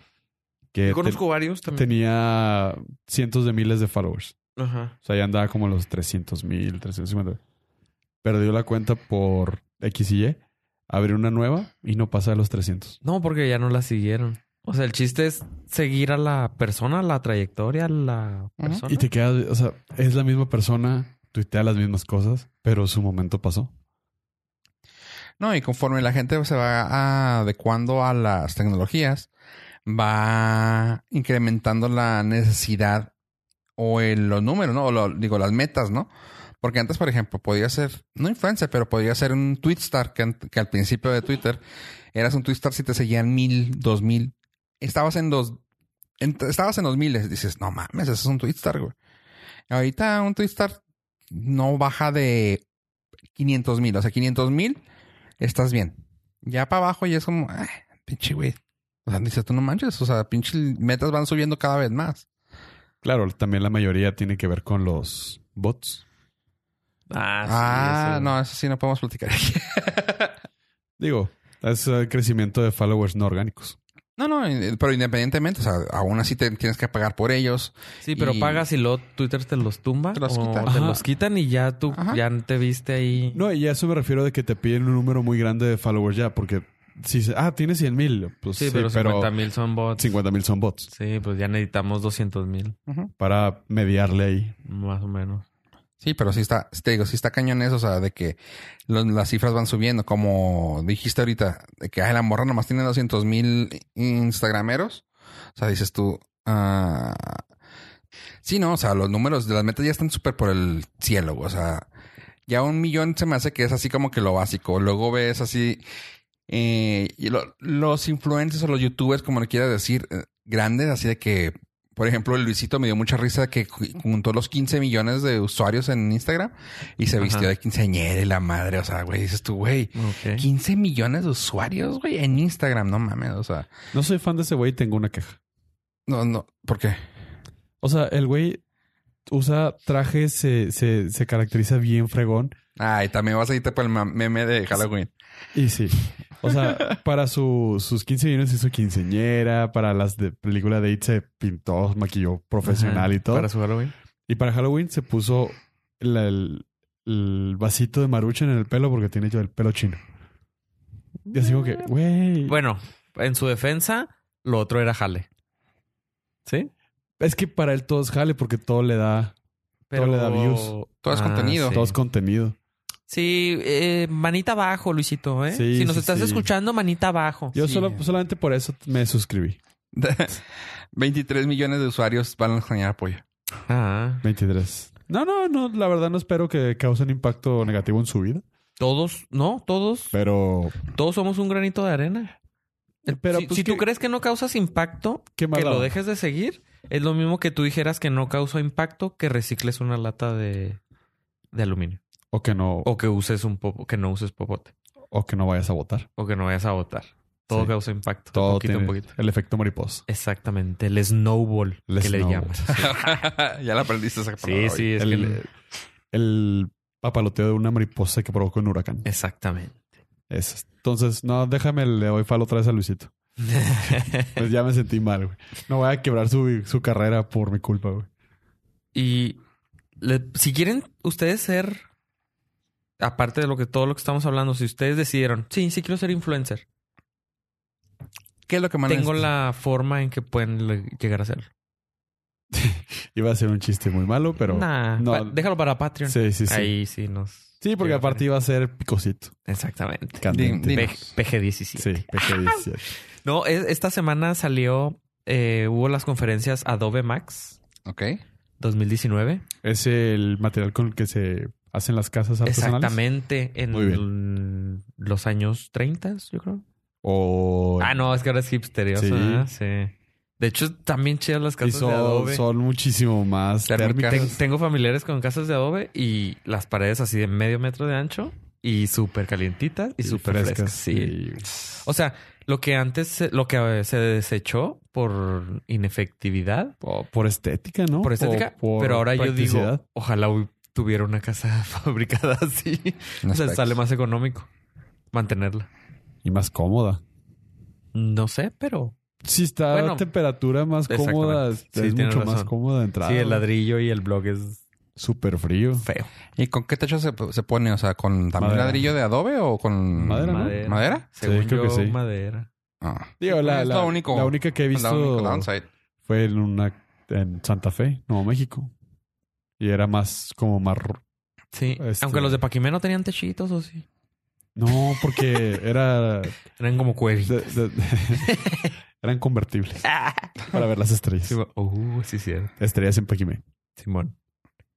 Speaker 2: que
Speaker 3: Yo
Speaker 2: te-
Speaker 3: conozco varios también.
Speaker 2: tenía cientos de miles de followers.
Speaker 3: Ajá.
Speaker 2: O sea, ya andaba como a los 300 mil, 350. Perdió la cuenta por X y Y, abrió una nueva y no pasa de los 300.
Speaker 3: No, porque ya no la siguieron. O sea, el chiste es seguir a la persona, la trayectoria, la persona.
Speaker 2: Y te quedas, o sea, es la misma persona, tuitea las mismas cosas, pero su momento pasó.
Speaker 1: No, y conforme la gente se va adecuando a las tecnologías, va incrementando la necesidad o el- los números, ¿no? O lo- digo, las metas, ¿no? Porque antes, por ejemplo, podía ser, no influencer, pero podía ser un twitstar que, ant- que al principio de Twitter eras un twitstar si te seguían mil, dos mil. Estabas en los, en- estabas en los miles. Dices, no mames, ese es un twitstar, güey. Ahorita un twitstar no baja de 500 mil. O sea, 500 mil estás bien. Ya para abajo ya es como, "Ah, pinche güey. O sea, dices, tú no manches. O sea, pinche metas van subiendo cada vez más.
Speaker 2: Claro, también la mayoría tiene que ver con los bots.
Speaker 3: Ah, sí,
Speaker 1: Ah,
Speaker 3: eso.
Speaker 1: no, eso sí no podemos platicar aquí. *laughs*
Speaker 2: Digo, es el crecimiento de followers no orgánicos.
Speaker 1: No, no, eh, pero independientemente, o sea, aún así te tienes que pagar por ellos.
Speaker 3: Sí, pero
Speaker 1: Y-
Speaker 3: pagas y luego Twitter te los tumba.
Speaker 1: Te los
Speaker 3: o
Speaker 1: quita.
Speaker 3: Te
Speaker 2: Ajá.
Speaker 3: los quitan y ya tú
Speaker 1: Ajá.
Speaker 3: ya te viste ahí.
Speaker 2: No, y a eso me refiero de que te piden un número muy grande de followers ya, porque si se- ah, tienes 100 mil, pues
Speaker 3: sí, pero 50 mil son bots.
Speaker 2: 50 mil son bots
Speaker 3: Sí, pues ya necesitamos 200 mil,
Speaker 1: Ujú.
Speaker 2: para mediarle ahí.
Speaker 3: más o menos.
Speaker 1: Sí, pero sí está, te digo, sí está cañón eso, o sea, de que lo- las cifras van subiendo, como dijiste ahorita, de que ay, la morra nomás tiene 200 mil instagrameros. O sea, dices tú, ah, sí, no, o sea, los números de las metas ya están súper por el cielo, o sea, ya un millón se me hace que es así como que lo básico. Luego ves así, eh, y lo- los influencers o los youtubers, como le quieras decir, eh, grandes, así de que por ejemplo, el Luisito me dio mucha risa que ju- juntó los 15 millones de usuarios en Instagram y se
Speaker 3: Ajá.
Speaker 1: vistió de quinceañera y la madre. O sea, güey, dices tú, güey,
Speaker 3: Ok.
Speaker 1: 15 millones de usuarios, güey, en Instagram. No mames, o sea,
Speaker 2: No soy fan de ese güey, tengo una queja.
Speaker 1: no, no, ¿por qué?
Speaker 2: O sea, el güey usa trajes, se, se, se caracteriza bien fregón.
Speaker 1: Ay, también vas a irte por el ma- meme de Halloween. *laughs*
Speaker 2: Y sí. O
Speaker 3: *laughs*
Speaker 2: sea, para su- sus 15 millones hizo quinceñera, para las de película de It se pintó, maquilló profesional y
Speaker 3: Ajá.
Speaker 2: todo.
Speaker 3: Para su Halloween.
Speaker 2: Y para Halloween se puso la- el, el vasito de maruchan en el pelo porque tiene yo el pelo chino. Y así como que, güey.
Speaker 3: Bueno, en su defensa, lo otro era jale. ¿Sí?
Speaker 2: Es que para él todo es jale porque todo le da,
Speaker 3: Pero
Speaker 2: le da views.
Speaker 1: Todo es
Speaker 3: Ah,
Speaker 1: contenido.
Speaker 3: Sí,
Speaker 2: todo es contenido.
Speaker 3: Sí, eh, manita abajo, Luisito, ¿eh?
Speaker 2: Sí,
Speaker 3: si nos
Speaker 2: sí,
Speaker 3: estás
Speaker 2: sí.
Speaker 3: escuchando, manita abajo.
Speaker 2: Yo
Speaker 1: Sí.
Speaker 2: solo, pues, solamente por eso me suscribí.
Speaker 1: 23 millones de usuarios van a extrañar apoyo. *laughs*
Speaker 3: Ah.
Speaker 2: 23. No, no, no. La verdad no espero que cause un impacto negativo en su vida.
Speaker 3: Todos, no, todos,
Speaker 2: Pero...
Speaker 3: todos somos un granito de arena.
Speaker 2: Pero
Speaker 3: si
Speaker 2: pues,
Speaker 3: si tú
Speaker 2: qué-
Speaker 3: crees que no causas impacto,
Speaker 2: qué
Speaker 3: que
Speaker 2: mala
Speaker 3: lo
Speaker 2: onda.
Speaker 3: dejes de seguir, es lo mismo que tú dijeras que no causa impacto que recicles una lata de, de aluminio.
Speaker 2: O que no, o,
Speaker 3: O que uses un popo, que no uses popote.
Speaker 2: que no vayas a votar.
Speaker 3: O que no vayas a votar. Todo
Speaker 2: Sí.
Speaker 3: causa impacto.
Speaker 2: Todo
Speaker 3: poquito
Speaker 2: tiene
Speaker 3: a poquito.
Speaker 2: el efecto mariposa.
Speaker 3: Exactamente. El snowball
Speaker 2: El
Speaker 3: que le
Speaker 2: snowball. *laughs*
Speaker 3: llamas.
Speaker 1: ya la aprendiste esa
Speaker 3: Sí,
Speaker 1: palabra,
Speaker 3: sí,
Speaker 1: oye.
Speaker 3: es que
Speaker 2: el,
Speaker 3: le-
Speaker 2: el papaloteo de una mariposa que provocó un huracán.
Speaker 3: Exactamente. *laughs*
Speaker 2: Eso. Entonces, no, déjame, le doy falo otra vez a Luisito. Pues ya me sentí mal, güey. No voy a quebrar su, su carrera por mi culpa, güey.
Speaker 3: Y le- si quieren ustedes ser, aparte de lo que todo lo que estamos hablando, si ustedes decidieron, sí, sí quiero ser influencer,
Speaker 1: ¿Qué es lo que más
Speaker 3: tengo
Speaker 1: necesitas?
Speaker 3: la forma en que pueden le- llegar a hacerlo.
Speaker 2: Iba a ser un chiste muy malo, pero.
Speaker 3: Nah,
Speaker 2: no.
Speaker 3: pa- déjalo para Patreon.
Speaker 2: Sí, sí, sí.
Speaker 3: Ahí sí nos.
Speaker 2: Sí, porque aparte iba a ser picosito.
Speaker 3: Exactamente.
Speaker 2: Candente.
Speaker 1: Di- di-
Speaker 3: P- PG-17.
Speaker 2: Sí, PG-17.
Speaker 3: No, es- esta semana salió, eh, hubo las conferencias Adobe Max
Speaker 1: Ok.
Speaker 3: 2019.
Speaker 2: Es el material con el que se hacen las casas artesanales.
Speaker 3: Exactamente en
Speaker 2: Muy
Speaker 3: los años 30, yo creo.
Speaker 2: O.
Speaker 3: Ah, no, es que ahora es hipsterioso.
Speaker 2: Sí.
Speaker 3: ¿verdad? Sí. De hecho, también chidas las
Speaker 2: Y
Speaker 3: casas
Speaker 2: son,
Speaker 3: de adobe.
Speaker 2: son muchísimo más
Speaker 1: Térmicas.
Speaker 2: térmicas.
Speaker 3: Ten- tengo familiares con casas de adobe y las paredes así de medio metro de ancho y súper calientitas y súper frescas. Sí.
Speaker 2: y-
Speaker 3: O sea, lo que antes, se- lo que eh, se desechó por inefectividad,
Speaker 2: o por estética, ¿no?
Speaker 3: por estética,
Speaker 2: O por
Speaker 3: pero ahora yo
Speaker 2: practicidad.
Speaker 3: digo, ojalá hu- tuviera una casa *laughs* fabricada así. O sea,
Speaker 1: Aspectos.
Speaker 3: sale más económico mantenerla.
Speaker 2: Y más cómoda.
Speaker 3: No sé, pero
Speaker 2: Si está
Speaker 3: Bueno,
Speaker 2: a temperatura más cómoda, es
Speaker 3: exactamente. Sí,
Speaker 2: mucho
Speaker 3: tienes
Speaker 2: más
Speaker 3: razón.
Speaker 2: cómoda de entrada.
Speaker 3: sí, el ladrillo y el blog es
Speaker 2: Súper frío.
Speaker 3: feo.
Speaker 1: ¿Y con qué techo se, se pone? O sea, ¿con también
Speaker 2: Madera.
Speaker 1: ladrillo de adobe o con
Speaker 2: Madera, ¿no?
Speaker 1: madera? ¿Madera?
Speaker 3: Según
Speaker 2: creo que
Speaker 3: yo,
Speaker 2: sí.
Speaker 3: madera.
Speaker 1: Ah.
Speaker 2: Digo,
Speaker 3: pues,
Speaker 2: la,
Speaker 1: Es
Speaker 2: la-
Speaker 1: lo único.
Speaker 2: la única que he
Speaker 1: La única
Speaker 2: visto
Speaker 1: downside.
Speaker 2: fue en una en Santa Fe, Nuevo México. Y era más como más... ru-
Speaker 3: Sí.
Speaker 2: Este-
Speaker 3: Aunque los de Paquimé no tenían techitos o sí.
Speaker 2: No,
Speaker 3: *laughs*
Speaker 2: porque era...
Speaker 3: Eran como
Speaker 2: de-
Speaker 3: cuevitas.
Speaker 2: de- *laughs* eran
Speaker 3: *laughs*
Speaker 2: convertibles para ver las estrellas.
Speaker 3: Sí, va- uh, sí, sí. era.
Speaker 2: Estrellas en Paquimé.
Speaker 3: Simón.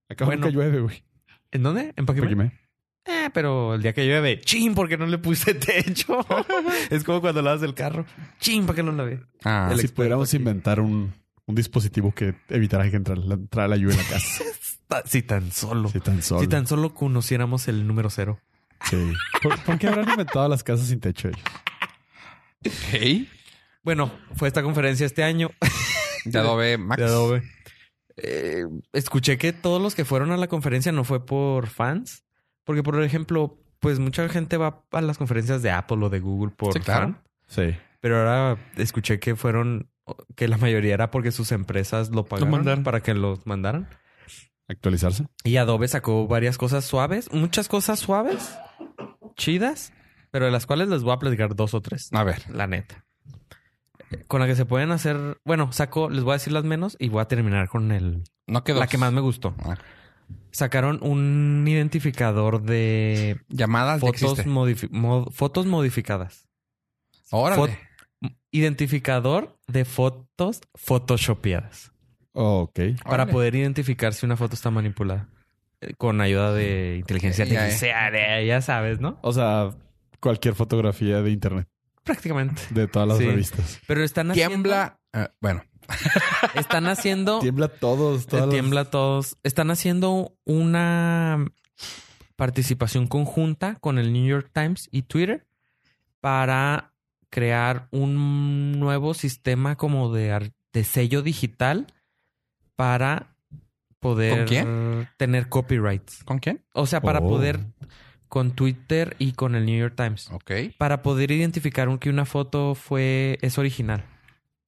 Speaker 2: Acá
Speaker 3: Bueno.
Speaker 2: nunca llueve, güey.
Speaker 3: ¿En dónde? ¿En Paquimé?
Speaker 2: Paquimé.
Speaker 3: Eh, pero el día que llueve, chin, porque no le
Speaker 1: *laughs*
Speaker 3: puse techo. es como cuando lavas el carro. Chin, ¿para qué no lavé?
Speaker 1: Ah,
Speaker 3: El
Speaker 2: si
Speaker 3: experto
Speaker 2: pudiéramos
Speaker 3: aquí.
Speaker 2: inventar un, un dispositivo que evitara que entrara la, entrara la lluvia en la
Speaker 3: *laughs*
Speaker 2: casa.
Speaker 3: Ta- Ah, Si tan solo.
Speaker 2: si tan solo.
Speaker 3: Si tan solo conociéramos el número cero.
Speaker 2: Sí. ¿Por, por qué habrán inventado las casas sin techo ellos?
Speaker 1: hey.
Speaker 3: Bueno, fue esta conferencia este año.
Speaker 1: De Adobe Max.
Speaker 3: de Adobe. Eh, escuché que todos los que fueron a la conferencia no fue por fans, porque por ejemplo, pues mucha gente va a las conferencias de Apple o de Google por
Speaker 1: Sí, claro.
Speaker 3: fan,
Speaker 2: Sí.
Speaker 3: pero ahora escuché que fueron que la mayoría era porque sus empresas lo pagaron
Speaker 1: mandaron.
Speaker 3: para que los mandaran.
Speaker 2: Actualizarse.
Speaker 3: Y Adobe sacó varias cosas suaves, muchas cosas suaves, chidas, pero de las cuales les voy a platicar dos o tres.
Speaker 1: A ver.
Speaker 3: La neta. Eh, Con la que se pueden hacer. Bueno, saco, les voy a decir las menos y voy a terminar con el.
Speaker 1: No quedó.
Speaker 3: La que más me gustó.
Speaker 1: Ah.
Speaker 3: Sacaron un identificador de
Speaker 1: Llamadas ya
Speaker 3: fotos,
Speaker 1: Ah, existe.
Speaker 3: modifi- mod- fotos modificadas.
Speaker 1: Órale.
Speaker 3: fot- Identificador de fotos photoshopeadas.
Speaker 2: ok.
Speaker 3: Para
Speaker 1: Órale.
Speaker 3: poder identificar si una foto está manipulada. Eh, Con ayuda de inteligencia
Speaker 1: Ya, eh.
Speaker 3: artificial, eh, ya sabes, ¿no?
Speaker 2: O sea, cualquier fotografía de internet,
Speaker 3: Prácticamente.
Speaker 2: de todas las
Speaker 3: Sí.
Speaker 2: revistas.
Speaker 3: Pero están haciendo-
Speaker 1: Tiembla. Ah, bueno.
Speaker 3: Están haciendo.
Speaker 2: *laughs* Tiembla todos,
Speaker 3: Te
Speaker 2: todas las-
Speaker 3: tiembla a todos. Están haciendo una participación conjunta con el New York Times y Twitter para crear un nuevo sistema como de, ar- de sello digital para poder
Speaker 1: ¿Con quién?
Speaker 3: tener copyrights.
Speaker 1: ¿Con quién?
Speaker 3: O sea, para
Speaker 2: Oh.
Speaker 3: poder con Twitter y con el New York
Speaker 2: Oh.
Speaker 3: Times.
Speaker 1: Ok.
Speaker 3: Para poder identificar un- que una foto fue es original.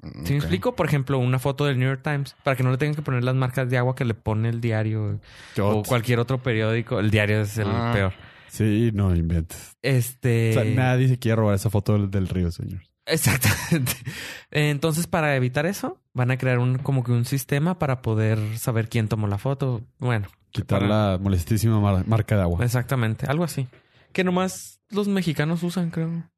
Speaker 1: Mm,
Speaker 3: Si me
Speaker 1: ok.
Speaker 3: explico, por ejemplo, una foto del New York Times, para que no le tengan que poner las marcas de agua que le pone el diario o
Speaker 2: Chot.
Speaker 3: cualquier otro periódico. El diario es el
Speaker 1: Ah.
Speaker 3: peor.
Speaker 2: Sí, no inventes.
Speaker 3: Este.
Speaker 2: O sea, nadie se quiere robar esa foto del, del río, señor.
Speaker 3: Exactamente. Entonces, para evitar eso, van a crear un como que un sistema para poder saber quién tomó la foto. Bueno,
Speaker 2: Quitar
Speaker 3: para-
Speaker 2: la molestísima mar- marca de agua.
Speaker 3: exactamente, algo así. Que nomás los mexicanos usan, creo.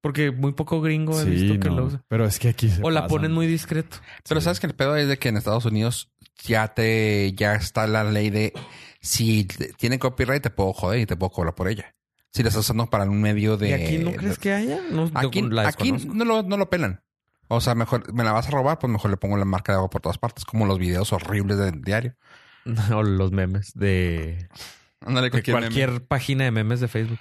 Speaker 3: Porque muy poco gringo he
Speaker 2: Sí,
Speaker 3: visto que
Speaker 2: no.
Speaker 3: lo usa.
Speaker 2: Pero es que aquí se
Speaker 3: O la
Speaker 2: pasan.
Speaker 3: ponen muy discreto.
Speaker 1: Pero
Speaker 2: Sí.
Speaker 1: sabes que el pedo es de que en Estados Unidos ya te ya está la ley de si te- tiene copyright te puedo joder y te puedo cobrar por ella. Si la estás usando para un medio de
Speaker 3: ¿Y aquí no crees que haya? No,
Speaker 1: aquí,
Speaker 3: yo la
Speaker 1: aquí *laughs*
Speaker 3: desconozco.
Speaker 1: no lo, no lo pelan. O sea, mejor me la vas a robar, pues mejor le pongo la marca de agua por todas partes, como los videos horribles del diario.
Speaker 3: O los memes de
Speaker 1: Ándale,
Speaker 3: de
Speaker 1: cualquier,
Speaker 3: cualquier página de memes de Facebook.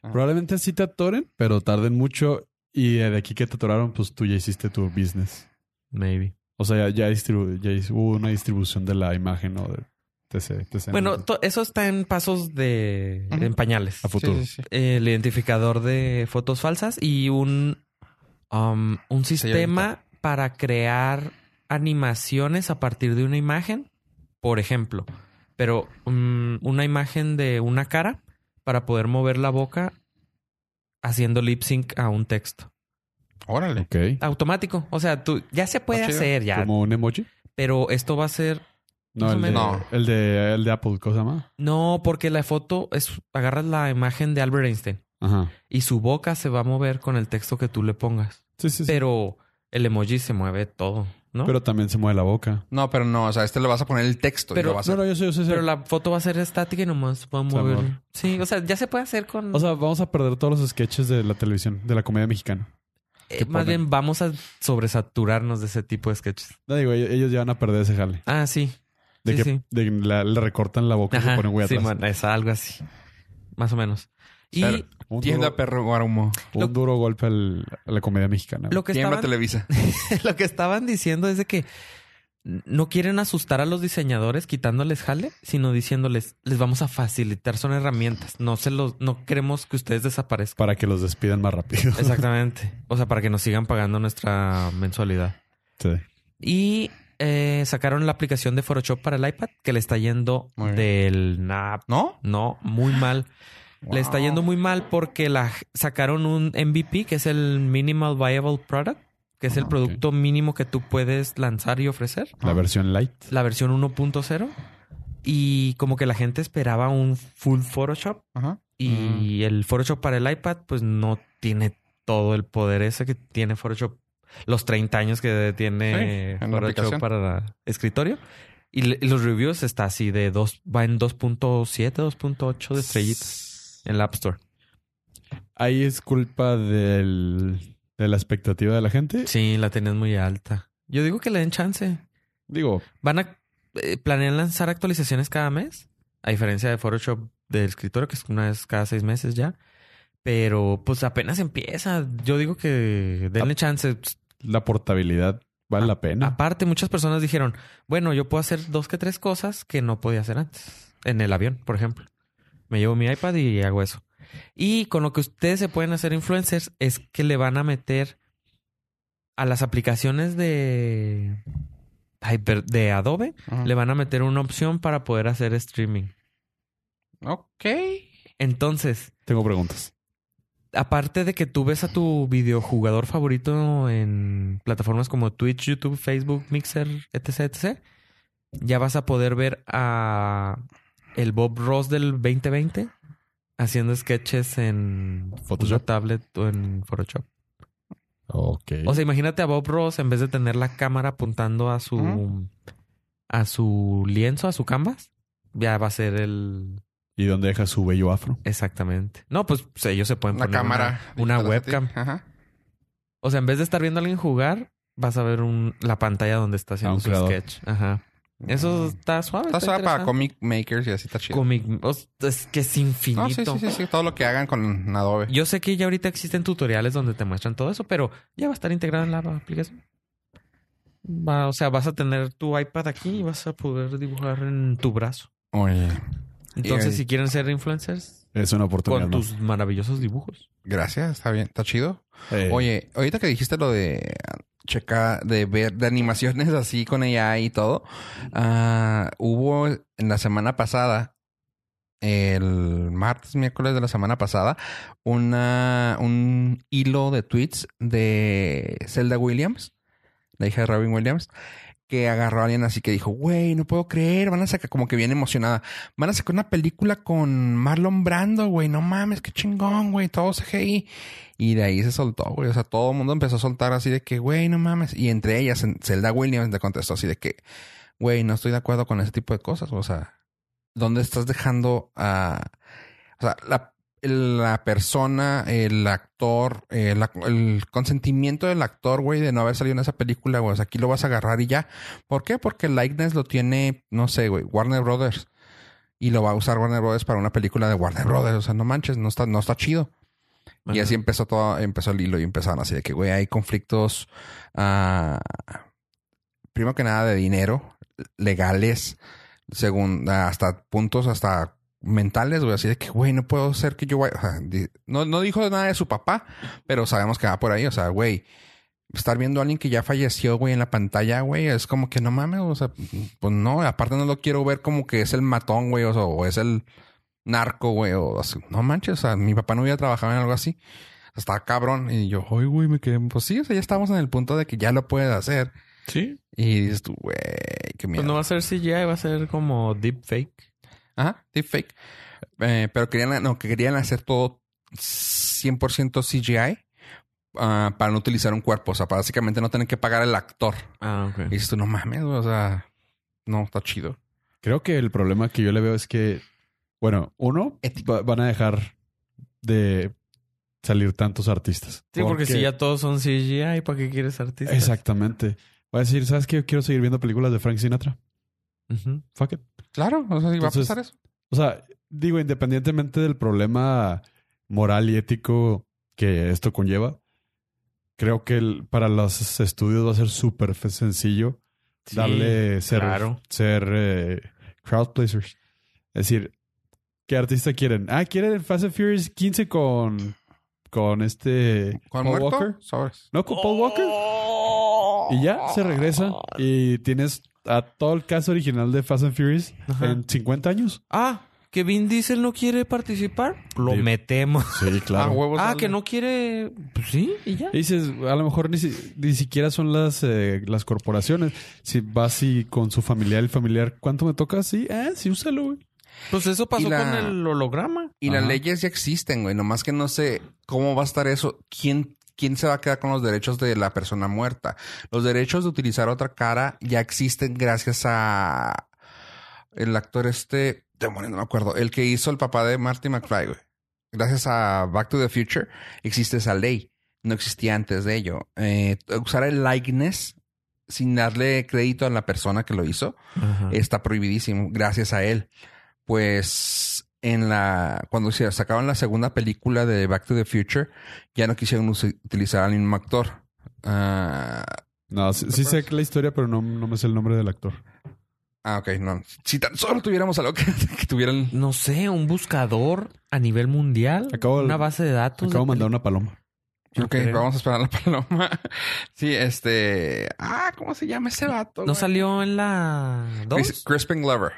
Speaker 2: Probablemente sí te atoren, pero tarden mucho. Y de aquí que te atoraron, pues tú ya hiciste tu business.
Speaker 3: Maybe.
Speaker 2: O sea, ya, ya, distribu- ya hizo- hubo una distribución de la imagen o de TC, TC.
Speaker 3: Bueno, to- eso está en pasos de...
Speaker 1: Ujú.
Speaker 3: en pañales.
Speaker 2: a futuro.
Speaker 1: Sí, sí, sí.
Speaker 3: El identificador de fotos falsas y un um, un
Speaker 1: Señorita.
Speaker 3: sistema para crear animaciones a partir de una imagen, por ejemplo, pero mm, una imagen de una cara para poder mover la boca haciendo lip sync a un texto.
Speaker 1: Órale.
Speaker 2: Ok.
Speaker 3: Automático. O sea, tú ya se puede
Speaker 1: Ah, chido.
Speaker 3: hacer, ya.
Speaker 2: ¿Como un emoji?
Speaker 3: Pero esto va a ser
Speaker 2: No,
Speaker 3: Más o
Speaker 2: el de,
Speaker 1: menos.
Speaker 2: el de, el de Apple, ¿cómo se llama?
Speaker 3: No, porque la foto es agarras la imagen de Albert Einstein
Speaker 2: Ajá.
Speaker 3: y su boca se va a mover con el texto que tú le pongas.
Speaker 2: Sí, sí, sí. Pero,
Speaker 3: Pero el emoji se mueve todo, ¿no? Pero,
Speaker 2: también se mueve la boca.
Speaker 1: No, pero no, o sea, este le vas a poner el texto
Speaker 3: Pero-
Speaker 1: y lo vas a
Speaker 2: No, no, yo sé, yo sé. yo sé.
Speaker 3: la foto va a ser estática y nomás va a
Speaker 2: Se va a mover.
Speaker 3: mover. Sí, o sea, ya se puede hacer con
Speaker 2: O sea, vamos a perder todos los sketches de la televisión, de la comedia mexicana.
Speaker 3: eh,
Speaker 2: que
Speaker 3: más
Speaker 2: ponen.
Speaker 3: bien vamos a sobresaturarnos de ese tipo de sketches.
Speaker 2: No digo, ellos ellos ya van a perder ese jale.
Speaker 3: Ah, sí.
Speaker 2: De
Speaker 3: Sí,
Speaker 2: que
Speaker 3: sí.
Speaker 2: de que la- le recortan la boca y se
Speaker 3: Ajá.
Speaker 2: ponen Pues güey
Speaker 3: Sí,
Speaker 2: atrás.
Speaker 3: man, es algo así. Más o menos. Y
Speaker 1: Claro.
Speaker 2: Un,
Speaker 1: Tienda
Speaker 2: duro,
Speaker 1: perro guarumo.
Speaker 2: un
Speaker 3: lo-
Speaker 2: duro golpe al- a la comedia mexicana.
Speaker 3: lo que
Speaker 1: Tienda
Speaker 3: estaban
Speaker 1: Televisa.
Speaker 3: *laughs* lo que estaban diciendo es de que no quieren asustar a los diseñadores quitándoles jale, sino diciéndoles, les vamos a facilitar, son herramientas, no se los, no queremos que ustedes
Speaker 1: *laughs*
Speaker 3: desaparezcan.
Speaker 2: Para que los despidan más rápido.
Speaker 3: Exactamente. O sea, para que nos sigan pagando nuestra mensualidad.
Speaker 2: *laughs* Sí.
Speaker 3: Y eh, sacaron la aplicación de Photoshop para el iPad, que le está yendo
Speaker 1: Muy bien.
Speaker 3: del nap.
Speaker 1: ¿No?
Speaker 3: No, muy mal. Le está
Speaker 1: Wow.
Speaker 3: yendo muy mal porque la, sacaron un MVP, que es el Minimal Viable Product, que es el
Speaker 2: Ah, ok.
Speaker 3: producto mínimo que tú puedes lanzar y ofrecer.
Speaker 2: La versión light.
Speaker 3: la versión 1.0 y como que la gente esperaba un full Photoshop
Speaker 1: Ajá. Mm.
Speaker 3: y el Photoshop para el iPad pues no tiene todo el poder ese que tiene Photoshop los 30 años que tiene
Speaker 1: Sí, en la
Speaker 3: Photoshop
Speaker 1: aplicación.
Speaker 3: para escritorio y, le- y los reviews está así de dos va en 2.7 2.8 de estrellitas en la App Store
Speaker 2: Ahí es culpa del, de la expectativa de la gente.
Speaker 3: sí la tenías muy alta yo digo que le den chance
Speaker 2: Digo,
Speaker 3: ¿Van a eh, planean lanzar actualizaciones cada mes? A diferencia de Photoshop del escritorio, que es una vez cada seis meses ya. Pero pues apenas empieza. Yo digo que
Speaker 1: Ah.
Speaker 3: denle chance. pues,
Speaker 2: la portabilidad
Speaker 3: Ah,
Speaker 2: vale la pena.
Speaker 3: Aparte, muchas personas dijeron, bueno, yo puedo hacer dos que tres cosas que no podía hacer antes. En el avión, por ejemplo. Me llevo mi iPad y hago eso. Y con lo que ustedes se pueden hacer influencers es que le van a meter a las aplicaciones de... ay, per- de Adobe
Speaker 1: Ajá.
Speaker 3: le van a meter una opción para poder hacer streaming.
Speaker 1: Ok.
Speaker 3: Entonces,
Speaker 2: Tengo preguntas.
Speaker 3: aparte de que tú ves a tu videojugador favorito en plataformas como Twitch, YouTube, Facebook, Mixer, etc., etc., ya vas a poder ver a el Bob Ross del 2020 haciendo sketches en
Speaker 2: Photoshop.
Speaker 3: una tablet o en Photoshop.
Speaker 2: Ok.
Speaker 3: O sea, imagínate a Bob Ross en vez de tener la cámara apuntando a su
Speaker 1: Ujú.
Speaker 3: a su lienzo, a su canvas, ya va a ser el
Speaker 2: ¿Y dónde deja su bello afro?
Speaker 3: Exactamente. No, pues pues, ellos se pueden
Speaker 1: Una
Speaker 3: poner
Speaker 1: cámara. digital
Speaker 3: una,
Speaker 1: hacia ti.
Speaker 3: webcam.
Speaker 1: Ajá.
Speaker 3: O sea, en vez de estar viendo a alguien jugar, vas a ver un, la pantalla donde
Speaker 2: A
Speaker 3: está haciendo
Speaker 2: un
Speaker 3: su
Speaker 2: creador.
Speaker 3: sketch. Ajá. Eso está suave.
Speaker 1: Ah, Mm. Está suave para
Speaker 3: interesante.
Speaker 1: comic makers y así está chido.
Speaker 3: Comic- o sea, es que es infinito.
Speaker 1: No, sí, sí, sí, sí. Todo lo que hagan con Adobe.
Speaker 3: Yo sé que ya ahorita existen tutoriales donde te muestran todo eso, pero ya va a estar integrado en la aplicación. Va, o sea, vas a tener tu iPad aquí y vas a poder dibujar en tu brazo.
Speaker 1: Oye.
Speaker 3: Entonces,
Speaker 1: Y-
Speaker 3: si quieren ser influencers,
Speaker 2: Es una oportunidad.
Speaker 3: con
Speaker 2: ¿no?
Speaker 3: tus maravillosos dibujos.
Speaker 1: Gracias, está bien, está chido.
Speaker 2: Eh,
Speaker 1: Oye, ahorita que dijiste lo de checar, de ver, de animaciones así con AI y todo, ah, hubo en la semana pasada, el martes, miércoles de la semana pasada, una, un hilo de tweets de Zelda Williams, la hija de Robin Williams, que agarró a alguien así que dijo, güey, no puedo creer, van a sacar, como que bien emocionada, van a sacar una película con Marlon Brando, güey, no mames, qué chingón, güey, todo CGI. Y de ahí se soltó, güey, o sea, todo el mundo empezó a soltar así de que, güey, no mames. Y entre ellas, en- Zelda Williams le contestó así de que, güey, no estoy de acuerdo con ese tipo de cosas, o sea, ¿dónde estás dejando a... O sea, la, la persona, el actor, eh, la- el consentimiento del actor, güey, de no haber salido en esa película, güey. O sea, aquí lo vas a agarrar y ya. ¿Por qué? Porque Likeness lo tiene, no sé, güey, Warner Brothers. Y lo va a usar Warner Brothers para una película de Warner Brothers. O sea, no manches, no está, no está chido. Y
Speaker 3: Ajá.
Speaker 1: así empezó todo, empezó el hilo y empezaron así de que, güey, hay conflictos, ah, primero que nada de dinero, legales, según, hasta puntos, hasta mentales, güey, así de que, güey, no puedo ser que yo vaya. o sea, di- no, no dijo nada de su papá, pero sabemos que va por ahí, o sea, güey. Estar viendo a alguien que ya falleció, güey, en la pantalla, güey, es como que no mames, o sea, pues no, aparte no lo quiero ver como que es el matón, güey, o, sea, o es el narco, güey, o así. No manches, o sea, mi papá no hubiera trabajado en algo así. Estaba cabrón. Y yo, ay, güey, me quedé. Pues sí, o sea, ya estamos en el punto de que ya lo puedes hacer.
Speaker 3: Sí.
Speaker 1: Y dices tú, güey, qué miedo.
Speaker 3: Pues no va a ser CGI, va a ser como deepfake.
Speaker 1: Ajá, deepfake. Eh, pero querían, no, que querían hacer todo 100% CGI ah, para no utilizar un cuerpo. O sea, para básicamente no tener que pagar al actor.
Speaker 3: Ah,
Speaker 1: Y
Speaker 3: ok.
Speaker 1: dices tú, no mames, güey, o sea, no, está chido.
Speaker 2: Creo que el problema que yo le veo es que, bueno, uno,
Speaker 1: Ético.
Speaker 2: va- van a dejar de salir tantos artistas.
Speaker 3: Sí, porque si ya todos son CGI, ¿para qué quieres artistas?
Speaker 2: Exactamente. Va a decir, ¿sabes qué? Yo quiero seguir viendo películas de Frank Sinatra.
Speaker 3: Ujú.
Speaker 2: Fuck it.
Speaker 1: Claro, o sea, ¿y va a
Speaker 2: Entonces-
Speaker 1: pasar eso.
Speaker 2: O sea, digo, independientemente del problema moral y ético que esto conlleva, creo que el- para los estudios va a ser súper fe- sencillo
Speaker 3: Sí,
Speaker 2: darle ser,
Speaker 3: claro.
Speaker 2: ser eh, crowd pleasers. Es decir, ¿qué artista quieren? Ah, quieren Fast and Furious 15 con, con este
Speaker 1: ¿Cuál
Speaker 2: Paul
Speaker 1: muerto?
Speaker 2: Walker.
Speaker 1: Sobres.
Speaker 2: No, con Paul Walker. Y ya se regresa y tienes a todo el caso original de Fast and Furious
Speaker 3: Ajá.
Speaker 2: en 50 años.
Speaker 3: Ah, que Vin Diesel no quiere participar. Lo
Speaker 2: Sí.
Speaker 3: metemos.
Speaker 2: Sí,
Speaker 1: Ah, huevos.
Speaker 3: Ah,
Speaker 1: dale.
Speaker 3: que no quiere. Pues sí, y ya.
Speaker 2: Y dices, a lo mejor ni, si- ni siquiera son las, eh, las corporaciones. Si vas y con su familiar, el familiar, ¿cuánto me toca? Sí, eh, sí, úsalo, güey.
Speaker 3: Pues eso pasó
Speaker 1: la-
Speaker 3: con el holograma.
Speaker 1: Y las
Speaker 2: Ajá.
Speaker 1: leyes ya existen, güey. Nomás que no sé cómo va a estar eso. ¿Quién, ¿Quién se va a quedar con los derechos de la persona muerta? Los derechos de utilizar otra cara ya existen gracias a el actor este... Demonio, no me acuerdo. El que hizo el papá de Marty McFly, güey. Gracias a Back to the Future existe esa ley. No existía antes de ello. Eh, usar el likeness sin darle crédito a la persona que lo hizo está prohibidísimo gracias a él. Pues en la cuando se sacaron la segunda película de Back to the Future ya no quisieron us- utilizar al mismo actor. Ah,
Speaker 2: No, sí, sí sé la historia, pero no, no me sé el nombre del actor.
Speaker 1: ah, ok, no. Si tan solo tuviéramos algo que, *laughs* que tuvieran
Speaker 3: No sé, un buscador a nivel mundial.
Speaker 2: Acabo de-
Speaker 3: una base de datos.
Speaker 2: Acabo de
Speaker 3: de
Speaker 2: mandar una paloma.
Speaker 3: yo
Speaker 1: Ok,
Speaker 3: creo.
Speaker 1: vamos a esperar a la *laughs* paloma. sí, este. Ah, ¿cómo se llama ese vato?
Speaker 3: No
Speaker 1: güey?
Speaker 3: salió en la
Speaker 1: Chris-
Speaker 3: 2.
Speaker 1: Crispin Glover.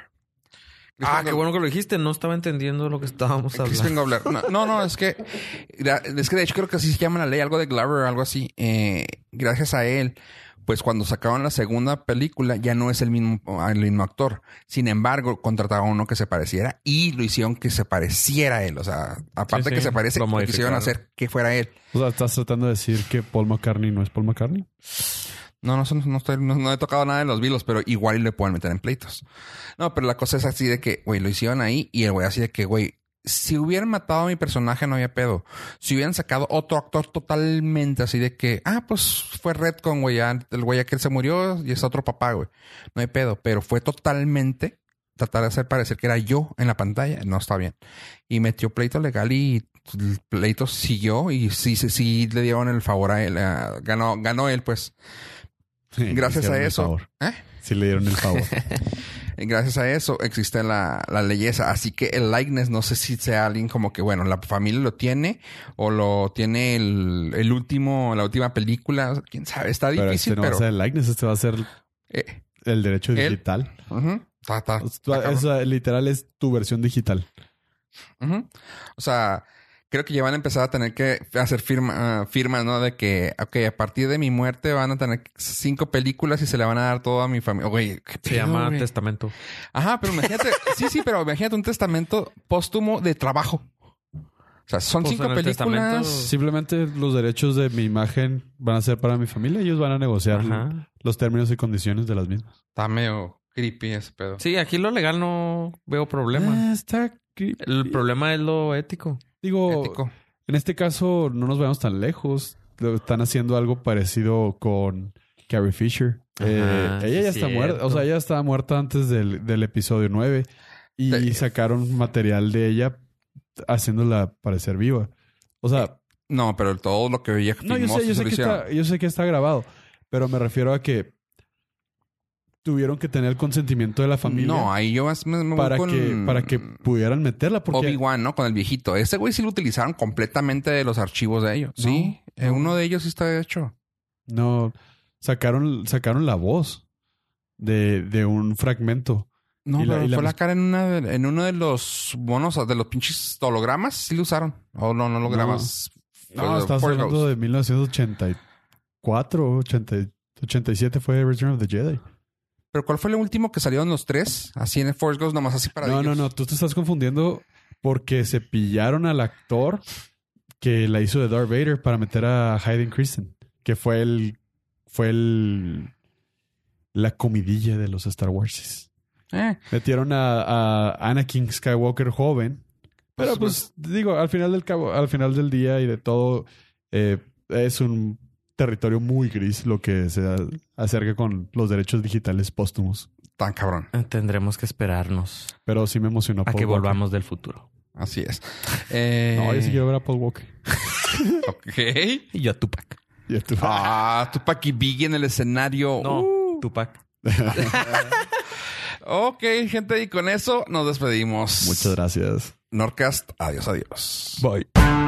Speaker 3: Ah,
Speaker 1: Crispin
Speaker 3: qué
Speaker 1: Glover.
Speaker 3: bueno que lo dijiste. No estaba entendiendo lo que estábamos
Speaker 1: Crispin
Speaker 3: hablando.
Speaker 1: Glover. No, no, no, es que. Es que de hecho creo que así se llama la ley, algo de Glover, algo así. Eh, gracias a él, pues cuando sacaron la segunda película, ya no es el mismo, el mismo actor. Sin embargo, contrataron a uno que se pareciera y lo hicieron que se pareciera a él. O sea, aparte
Speaker 3: Sí, sí,
Speaker 1: que se parece,
Speaker 3: lo
Speaker 1: lo quisieron
Speaker 3: modificaron.
Speaker 1: hacer que fuera él.
Speaker 2: O sea, ¿estás tratando de decir que Paul McCartney no es Paul McCartney?
Speaker 1: No, no, sé, no, estoy- no- no he tocado nada de los vilos, pero igual y le pueden meter en pleitos. No, pero la cosa es así de que, güey, lo hicieron ahí y el güey así de que, güey, si hubieran matado a mi personaje no había pedo. Si hubieran sacado otro actor totalmente así de que, ah, pues fue Redcon, güey, ya el güey aquel se murió y es otro papá, güey. No hay pedo, pero fue totalmente tratar de hacer parecer que era yo en la pantalla. No está bien. Y metió pleito legal y el pleito siguió y sí, sí, sí le dieron el favor a él. ah, ganó, ganó él, pues.
Speaker 2: Sí,
Speaker 1: Gracias
Speaker 2: hicieron
Speaker 1: a
Speaker 2: el
Speaker 1: eso.
Speaker 2: favor.
Speaker 1: ¿Eh?
Speaker 2: Sí le dieron
Speaker 1: *laughs*
Speaker 2: el favor.
Speaker 1: Y Eh, Gracias a eso existe la, la leyesa. Así que el likeness, no sé si sea alguien como que, bueno, la familia lo tiene o lo tiene el, el último, la última película. O sea, Quién sabe, está
Speaker 2: pero
Speaker 1: difícil,
Speaker 2: este no va
Speaker 1: pero.
Speaker 2: a ser el likeness, este va a ser
Speaker 1: eh,
Speaker 2: el derecho
Speaker 1: Él.
Speaker 2: digital.
Speaker 1: ujú, ta, ta, ta,
Speaker 2: O sea,
Speaker 1: Ah, cabrón.
Speaker 2: esa, literal es tu versión digital.
Speaker 1: Ujú. O sea, creo que ya van a empezar a tener que hacer firma, ah, firmas, ¿no? De que, ok, a partir de mi muerte van a tener cinco películas y se le van a dar todo a mi familia. Güey, ¿qué
Speaker 3: Se
Speaker 1: pedo,
Speaker 3: llama
Speaker 1: güey?
Speaker 3: testamento.
Speaker 1: Ajá, pero
Speaker 2: *laughs*
Speaker 1: imagínate, sí, sí, pero imagínate un testamento póstumo de trabajo. O sea, son
Speaker 3: Pues,
Speaker 1: cinco
Speaker 3: en el
Speaker 1: películas.
Speaker 3: testamento-
Speaker 2: Simplemente los derechos de mi imagen van a ser para mi familia. Ellos van a negociar
Speaker 3: Ajá.
Speaker 2: los términos y condiciones de las mismas.
Speaker 1: Está medio creepy ese pedo.
Speaker 3: Sí, aquí lo legal no veo problema.
Speaker 2: Ah, está creepy.
Speaker 3: El problema es lo ético.
Speaker 2: Digo,
Speaker 1: Ético.
Speaker 2: en este caso no nos vayamos tan lejos. Lo Están haciendo algo parecido con Carrie Fisher.
Speaker 3: Ajá,
Speaker 2: Eh,
Speaker 3: sí
Speaker 2: ella ya
Speaker 3: es
Speaker 2: está muerta. O sea,
Speaker 3: cierto.
Speaker 2: ella estaba muerta antes del, del episodio 9. Y
Speaker 1: Sí.
Speaker 2: sacaron material de ella haciéndola parecer viva. O sea,
Speaker 3: Eh,
Speaker 1: No, pero todo lo que ella
Speaker 2: No, yo
Speaker 1: filmó,
Speaker 2: sé,
Speaker 1: se
Speaker 2: yo sé,
Speaker 1: lo
Speaker 2: que
Speaker 1: hicieron.
Speaker 2: está, yo sé que está grabado, pero me refiero a que tuvieron que tener el consentimiento de la familia
Speaker 1: No, ahí yo más me, me voy
Speaker 2: para,
Speaker 1: con-
Speaker 2: que, para que pudieran meterla. Porque
Speaker 1: Obi-Wan, ¿no? Con el viejito. Ese güey sí lo utilizaron completamente de los archivos de ellos. Sí. eh, Uno de ellos sí está hecho.
Speaker 2: no sacaron, sacaron la voz de, de un fragmento.
Speaker 1: No,
Speaker 2: Y la-
Speaker 1: pero
Speaker 2: y la
Speaker 1: fue la
Speaker 2: mis-
Speaker 1: cara en, una de- en uno de los bonos, de los pinches hologramas. Sí lo usaron. O no, no hologramas. Fue
Speaker 2: No,
Speaker 1: de
Speaker 2: estás
Speaker 1: Porgos.
Speaker 2: hablando de 1984, 80 87 fue Return of the Jedi.
Speaker 1: Pero ¿cuál fue el último que salieron los tres? Así en el Force Ghost, nomás así para
Speaker 2: No,
Speaker 1: ellos.
Speaker 2: no, no, tú te estás confundiendo porque se pillaron al actor que la hizo de Darth Vader para meter a Hayden Christensen, que fue el fue el la comidilla de los Star Wars.
Speaker 1: Eh,
Speaker 2: Metieron a, a Anakin Skywalker joven, pero pues digo, al final del cabo, al final del día y de todo eh, es un territorio muy gris lo que se a- acerca con los derechos digitales póstumos.
Speaker 1: tan cabrón.
Speaker 3: Tendremos que esperarnos
Speaker 2: Pero sí me emocionó.
Speaker 3: a
Speaker 2: Paul
Speaker 3: que
Speaker 2: Walker.
Speaker 3: volvamos del futuro.
Speaker 1: Así es.
Speaker 2: *laughs*
Speaker 1: Eh,
Speaker 2: No, yo sí quiero ver a Paul Walker.
Speaker 1: Ok.
Speaker 3: Y yo a Tupac.
Speaker 2: Y a tu-
Speaker 1: Ah, Tupac y Biggie en el escenario.
Speaker 3: No,
Speaker 1: Uh.
Speaker 3: Tupac.
Speaker 1: Ok, gente, y con eso nos despedimos.
Speaker 2: Muchas gracias.
Speaker 1: Norcast, adiós, adiós.
Speaker 2: Bye.